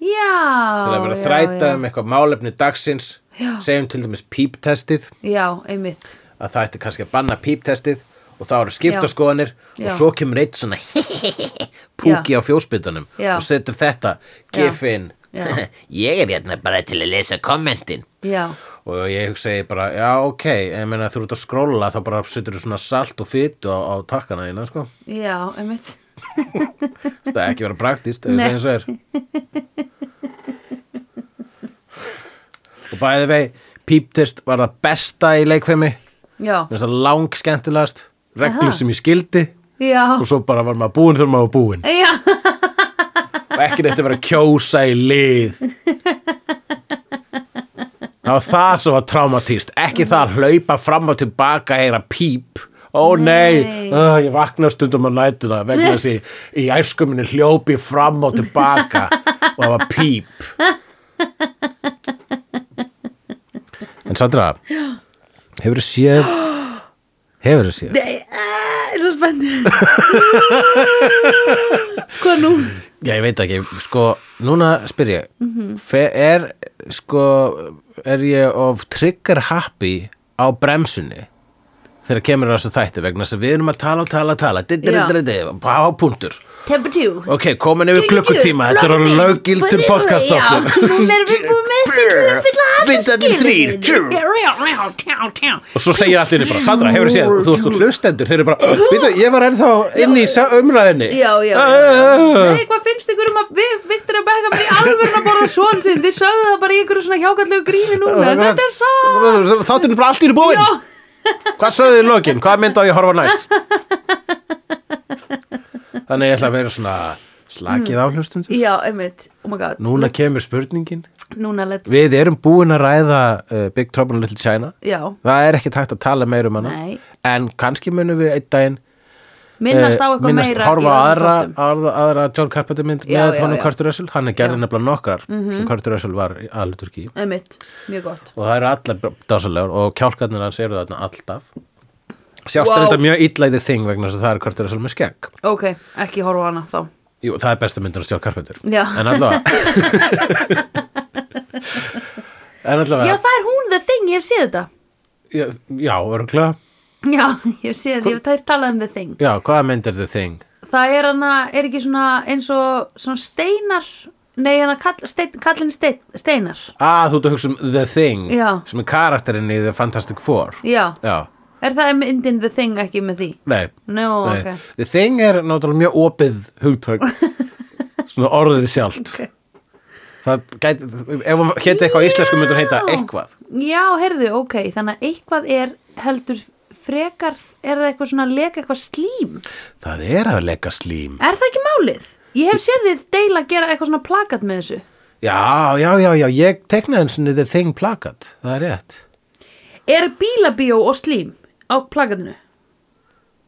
[SPEAKER 2] já,
[SPEAKER 1] þegar að vera
[SPEAKER 2] já,
[SPEAKER 1] að þræta
[SPEAKER 2] já.
[SPEAKER 1] um eitthvað málefni dagsins
[SPEAKER 2] Já.
[SPEAKER 1] segjum til dæmis píptestið
[SPEAKER 2] já, einmitt
[SPEAKER 1] að það ætti kannski að banna píptestið og þá eru skiptaskoðanir
[SPEAKER 2] Já.
[SPEAKER 1] og svo kemur eitt svona [LAUGHS] púki á fjósbytunum
[SPEAKER 2] Já.
[SPEAKER 1] og setur þetta
[SPEAKER 2] Já.
[SPEAKER 1] gif inn [LAUGHS]
[SPEAKER 2] Já.
[SPEAKER 1] ég er hérna bara til að lesa kommentin
[SPEAKER 2] já,
[SPEAKER 1] og ég segi bara, já ok ég meina þú ert að skróla þá bara setur þú svona salt og fytt á, á takkana þína sko,
[SPEAKER 2] já, einmitt
[SPEAKER 1] það er ekki vera praktíst ef
[SPEAKER 2] Nei.
[SPEAKER 1] það eins og er og bæði vei píptist var það besta í leikfemi
[SPEAKER 2] já,
[SPEAKER 1] minnst það lang skemmtilegast reglur
[SPEAKER 2] Aha.
[SPEAKER 1] sem ég skildi
[SPEAKER 2] já,
[SPEAKER 1] og svo bara var maður búinn þegar maður var búinn
[SPEAKER 2] já
[SPEAKER 1] og ekki neitt að vera að kjósa í lið það var það sem var traumatíst ekki það að hlaupa fram og tilbaka að heyra píp ó nei,
[SPEAKER 2] Nei.
[SPEAKER 1] Uh, ég vakna stundum á nætuna vegna þess að ég- í æskuminni hljópi ég fram og tilbaka og það var píp en Sandra hefur þið séð hefur þið séð
[SPEAKER 2] Nei, eh, ég er svo
[SPEAKER 1] [LAUGHS]
[SPEAKER 2] spennt Hvað nú?
[SPEAKER 1] Já, ég veit ekki, sko, núna spyr ég
[SPEAKER 2] Mhm.
[SPEAKER 1] Fe- Er, sko, er ég of trigger happy á bremsunni þegar kemur að þessu þætti vegna þess að við erum að tala og tala og tala dittirittiritti, á punktur
[SPEAKER 2] Temper 2
[SPEAKER 1] Ok, komin yfir klukkutíma, þetta er á löggildur podcast áttur
[SPEAKER 2] Núna erum við búin með fyrir að fylla
[SPEAKER 1] Vindandi þrír, tjú.
[SPEAKER 2] skilin
[SPEAKER 1] Og svo segja allir bara, Sandra, hefur séð og þú veist, þú hlustendur, þeir eru bara Býtu, ég var ennþá inn í sa- Ah, umræðinni
[SPEAKER 2] Já, já, já. Nei, hvað finnst ykkur um að við, Viktor að bekka mér í alvörun að borða svon sinn Þið sögðu það bara í ykkur svona hjákallegu gríni núna En þetta er svo
[SPEAKER 1] Þátturinn er bara allt í einu búinn
[SPEAKER 2] Já,
[SPEAKER 1] Hvað sögðu í lokin? Hvað mynd á ég að horfa næst? Þannig ég ætla að vera svona slakið á hlustundur.
[SPEAKER 2] já, einmitt Oh my god
[SPEAKER 1] Núna
[SPEAKER 2] Let's-
[SPEAKER 1] kemur spurningin.
[SPEAKER 2] Núna let's
[SPEAKER 1] Við erum búin að ræða uh, Big Trouble in Little China.
[SPEAKER 2] Já,
[SPEAKER 1] Það er ekkert hægt að tala meir um hana.
[SPEAKER 2] Nei.
[SPEAKER 1] En kannski munum við einn daginn
[SPEAKER 2] minnast á
[SPEAKER 1] eh,
[SPEAKER 2] eitthvað meira í
[SPEAKER 1] horfa
[SPEAKER 2] öðrum
[SPEAKER 1] á aðra,
[SPEAKER 2] þáttum.
[SPEAKER 1] aðra, aðra John Carpenter mynd
[SPEAKER 2] Já,
[SPEAKER 1] með
[SPEAKER 2] já,
[SPEAKER 1] honum
[SPEAKER 2] já.
[SPEAKER 1] Kurt Russell. Hann er gerðin
[SPEAKER 2] Já. Mhm.
[SPEAKER 1] nefnilega nokkrar sem Kurt Russell var aðlutur í.
[SPEAKER 2] Einmitt, mjög gott
[SPEAKER 1] og það eru allar dásalegar og kjálkarnir hans eru þarna alltaf sjást
[SPEAKER 2] Wow.
[SPEAKER 1] wow. þetta mjög illæði þing vegna þess að það er Carter Russell með skegg
[SPEAKER 2] Ok, ekki horfa á hana þá [LAUGHS]
[SPEAKER 1] Jú, það er besta myndin að stjálf Carpenter
[SPEAKER 2] Já.
[SPEAKER 1] en allavega
[SPEAKER 2] Já,
[SPEAKER 1] En allavega,
[SPEAKER 2] það er hún the thing, ég hef séð þetta
[SPEAKER 1] já, já örgulega
[SPEAKER 2] Já, [LAUGHS] ég hef séð þetta, ég hef tært talað um the thing
[SPEAKER 1] Já, hvaða mynd er The Thing?
[SPEAKER 2] Það er hana, er ekki svona eins og svona steinar Nei, hana kall, stein, kallin stein, steinar
[SPEAKER 1] Ah, þú ert að hugsa um The Thing
[SPEAKER 2] Já.
[SPEAKER 1] sem er karakterinn í The Fantastic Four
[SPEAKER 2] Já,
[SPEAKER 1] Já,
[SPEAKER 2] er það myndin the thing ekki með því?
[SPEAKER 1] nei,
[SPEAKER 2] No,
[SPEAKER 1] nei.
[SPEAKER 2] ok
[SPEAKER 1] The Thing er náttúrulega mjög opið
[SPEAKER 2] [LAUGHS]
[SPEAKER 1] hugtök svona orðið sjálft
[SPEAKER 2] Ok.
[SPEAKER 1] Það gæti, ef hún héti eitthvað á íslensku myndur heita
[SPEAKER 2] Já.
[SPEAKER 1] eitthvað
[SPEAKER 2] Já, heyrðu, ok, þannig að eitthvað er heldur frekar, er það eitthvað svona að leka eitthvað slím?
[SPEAKER 1] Það er að leika slím
[SPEAKER 2] Er það ekki málið? Ég hef séð þið deila að gera eitthvað svona plakat með þessu.
[SPEAKER 1] Já, já, já, já, ég teknaði eins og The Thing plakat, það er rétt
[SPEAKER 2] Er bílabíó og slím á plakatinu?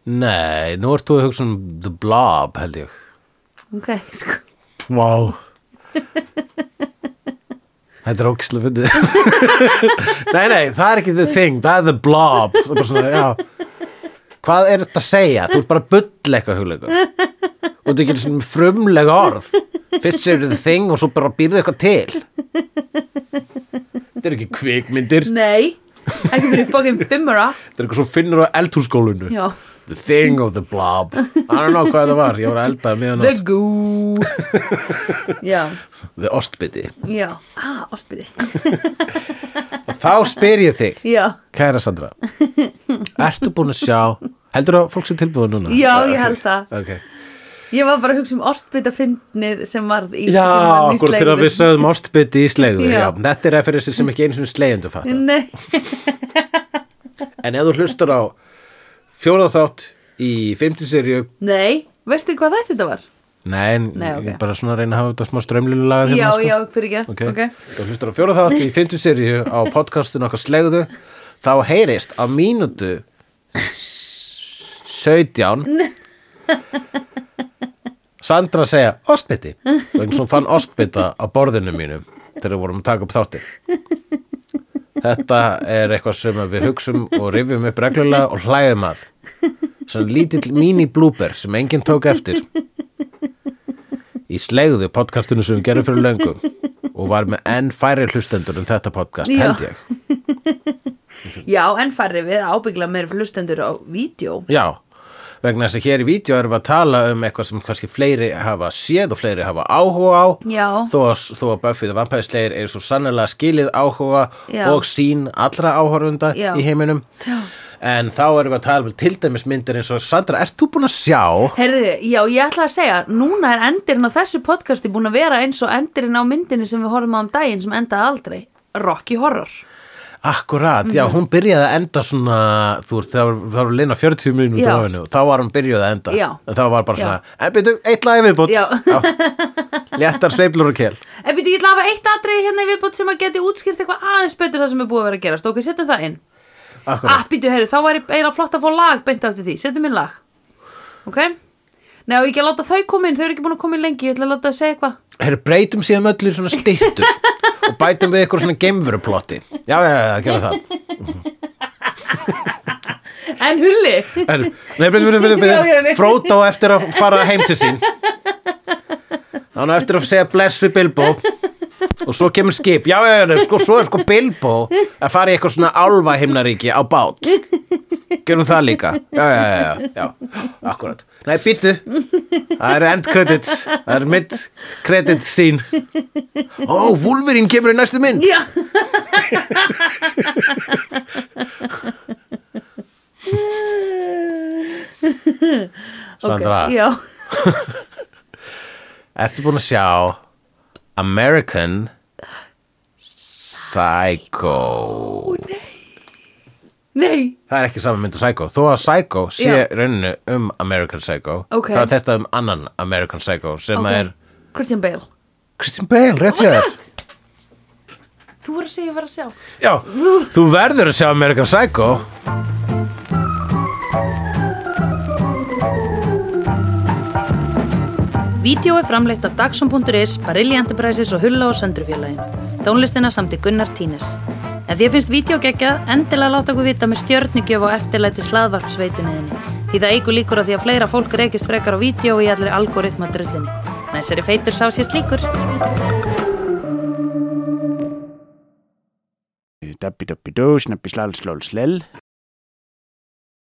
[SPEAKER 1] Nei, nú ert þú að hugsa um The Blob, held ég
[SPEAKER 2] Ok, [LAUGHS] sko.
[SPEAKER 1] Vá [LAUGHS] Þetta er ógislega fyndið [LAUGHS] Nei, nei, það er ekki the thing Það er the blob Það er bara svona, já. Hvað er þetta að segja? Þú ert bara að bull eitthvað hugleikur Og þetta er ekki svona frumlega orð Fyrst segir the thing og svo bara býrðu eitthvað til Þetta er ekki kvikmyndir
[SPEAKER 2] Nei, ekki fyrir fucking fimmara.
[SPEAKER 1] Þetta er eitthvað svo finnur á eldhússkólinu
[SPEAKER 2] Já.
[SPEAKER 1] The thing of the blob I don't know hvað það var, ég var að elda um meðan
[SPEAKER 2] The
[SPEAKER 1] [LAUGHS]
[SPEAKER 2] goo. Já,
[SPEAKER 1] The ostbytti
[SPEAKER 2] já. Ah, áspiti.
[SPEAKER 1] Þá spyr ég þig
[SPEAKER 2] Já,
[SPEAKER 1] Kæra Sandra Ertu búin að sjá Heldur að fólk sé tilbúið núna?
[SPEAKER 2] Já, ég held það.
[SPEAKER 1] okay.
[SPEAKER 2] ég var bara að hugsa um áspita fyndnið sem varð í
[SPEAKER 1] Já, akkur til að við
[SPEAKER 2] vissa.
[SPEAKER 1] sögðum ástbytti í slegðu
[SPEAKER 2] Já.
[SPEAKER 1] já. Þetta er referensir sem ekki eins og slegjendu fatta
[SPEAKER 2] Nei,
[SPEAKER 1] En ef þú hlustar á fjóraþátt í fimmtiserju
[SPEAKER 2] nei, veistu hvað þetta þetta var?
[SPEAKER 1] Nei, en
[SPEAKER 2] Nei, ok.
[SPEAKER 1] ég er bara svona að reyna að hafa þetta smá hérna, sko. strömlunulagað
[SPEAKER 2] Já, já, fyrir ekki.
[SPEAKER 1] Ok. Þú hlustar á fjóraþátt í fimmtiserju á podcastinu okkar slegðu Þá heyrist á mínútu 17 Sandra segja ostbytti vegna svo fann ostbytta á borðinu mínu þegar við vorum að taka upp þátti þetta er eitthvað sem að við hugsum og rifjum upp reglulega og hlæðum að svona lítill mini blooper sem enginn tók eftir í slegðu podcastinu sem við gerum fyrir löngu og var með enn færi hlustendur en þetta podcast
[SPEAKER 2] Já.
[SPEAKER 1] held ég
[SPEAKER 2] Já, en farið við ábyggla meira flustendur á vídeo.
[SPEAKER 1] Já, vegna þess að hér í vídeo erum við að tala um eitthvað sem kannski fleiri hafa séð og fleiri hafa áhuga á
[SPEAKER 2] Já.
[SPEAKER 1] þó að, þó að Buffy the Vampire Slayer er svo sannlega skilið áhuga
[SPEAKER 2] Já.
[SPEAKER 1] og sín allra áhorfunda
[SPEAKER 2] Já.
[SPEAKER 1] í heiminum Já. en þá erum við að tala um til dæmis myndir eins og Sandra, ert þú búin að sjá?
[SPEAKER 2] Herðu, já, ég ætla að segja, núna er endirinn á þessu podcasti búin að vera eins og endirinn á myndinni sem við horfum á um daginn sem endaði aldrei. Rocky Horror.
[SPEAKER 1] Akkurat, já,
[SPEAKER 2] Mhm.
[SPEAKER 1] hún byrjaði að enda svona, þú veist, það var, það var lina 40 mínútur
[SPEAKER 2] Já.
[SPEAKER 1] á hennu og þá var hún byrjuð að enda.
[SPEAKER 2] Já.
[SPEAKER 1] En þá var bara svona, en byrju, eitt lagi viðbútt.
[SPEAKER 2] Já.
[SPEAKER 1] Léttar sveiflur og kel.
[SPEAKER 2] En byrju, ég ætla að hafa eitt atrið hérna í viðbót sem að geti útskýrt eitthvað aðeins betur það sem er búið að vera að gerast. Ok, setjum það inn.
[SPEAKER 1] Akkurat.
[SPEAKER 2] Ah, byrju, herru, þá var ég eiginlega flott að fá lag beint eftir því. Setjum inn lag. Ok? Nei, og ekki að láta þau koma inn, þau eru ekki búin að koma inn lengi, ég ætla að láta þau segja eitthvað.
[SPEAKER 1] Herru, breytum síðan öllu í svona styttur og bætum við eitthvað svona geimveruplotti. Já, já, já, já, gera það.
[SPEAKER 2] En hulli!
[SPEAKER 1] Herru, nei, byrju, byrju, byrju,
[SPEAKER 2] Já, já, nei.
[SPEAKER 1] byrju, Frodo á eftir að fara heim til sín. Þannig eftir að segja bless við Bilbo og svo kemur skip. Já, já, já, nei, sko, svo er sko Bilbo að fara í eitthvað svona álva himnaríki á bát. Gerum það líka. Já, já, já, já, já, akkurat. Nei, býttu. Það eru end credits. Það eru mid credits sín. Ó, Wolverine kemur í næstu mynd.
[SPEAKER 2] Já,
[SPEAKER 1] Sandra,
[SPEAKER 2] já.
[SPEAKER 1] ertu búin að sjá American Psycho
[SPEAKER 2] Nei,
[SPEAKER 1] Það er ekki saman mynd og Psycho Þó að Psycho sé
[SPEAKER 2] Já.
[SPEAKER 1] rauninu um American Psycho
[SPEAKER 2] Ok.
[SPEAKER 1] þá er þetta um annan American Psycho sem
[SPEAKER 2] ok. Oh
[SPEAKER 1] er
[SPEAKER 2] Christian Bale.
[SPEAKER 1] Christian Bale, rétt hjá þér
[SPEAKER 2] Þú voru að segja, ég var að sjá.
[SPEAKER 1] Já, þú verður að sjá American Psycho
[SPEAKER 2] Vídeó er framleitt af Dagsum.is, Barilli Enterprises og Hulla og Söndrufjörlægin. Tónlistina samt í Gunnar Tínes. Ef þér finnst vídeo geggja, endilega láta okkur vita með stjörnugjöf og eftirlæti slaðvarpsveitunniðinni. Því það eigur líkur að því að fleira fólk reykist frekar á vídeo og í allir algoritma drullinni. Næsari feitur sá sér slíkur.
[SPEAKER 3] dabbi dabbi dó, snabbi slal slól slel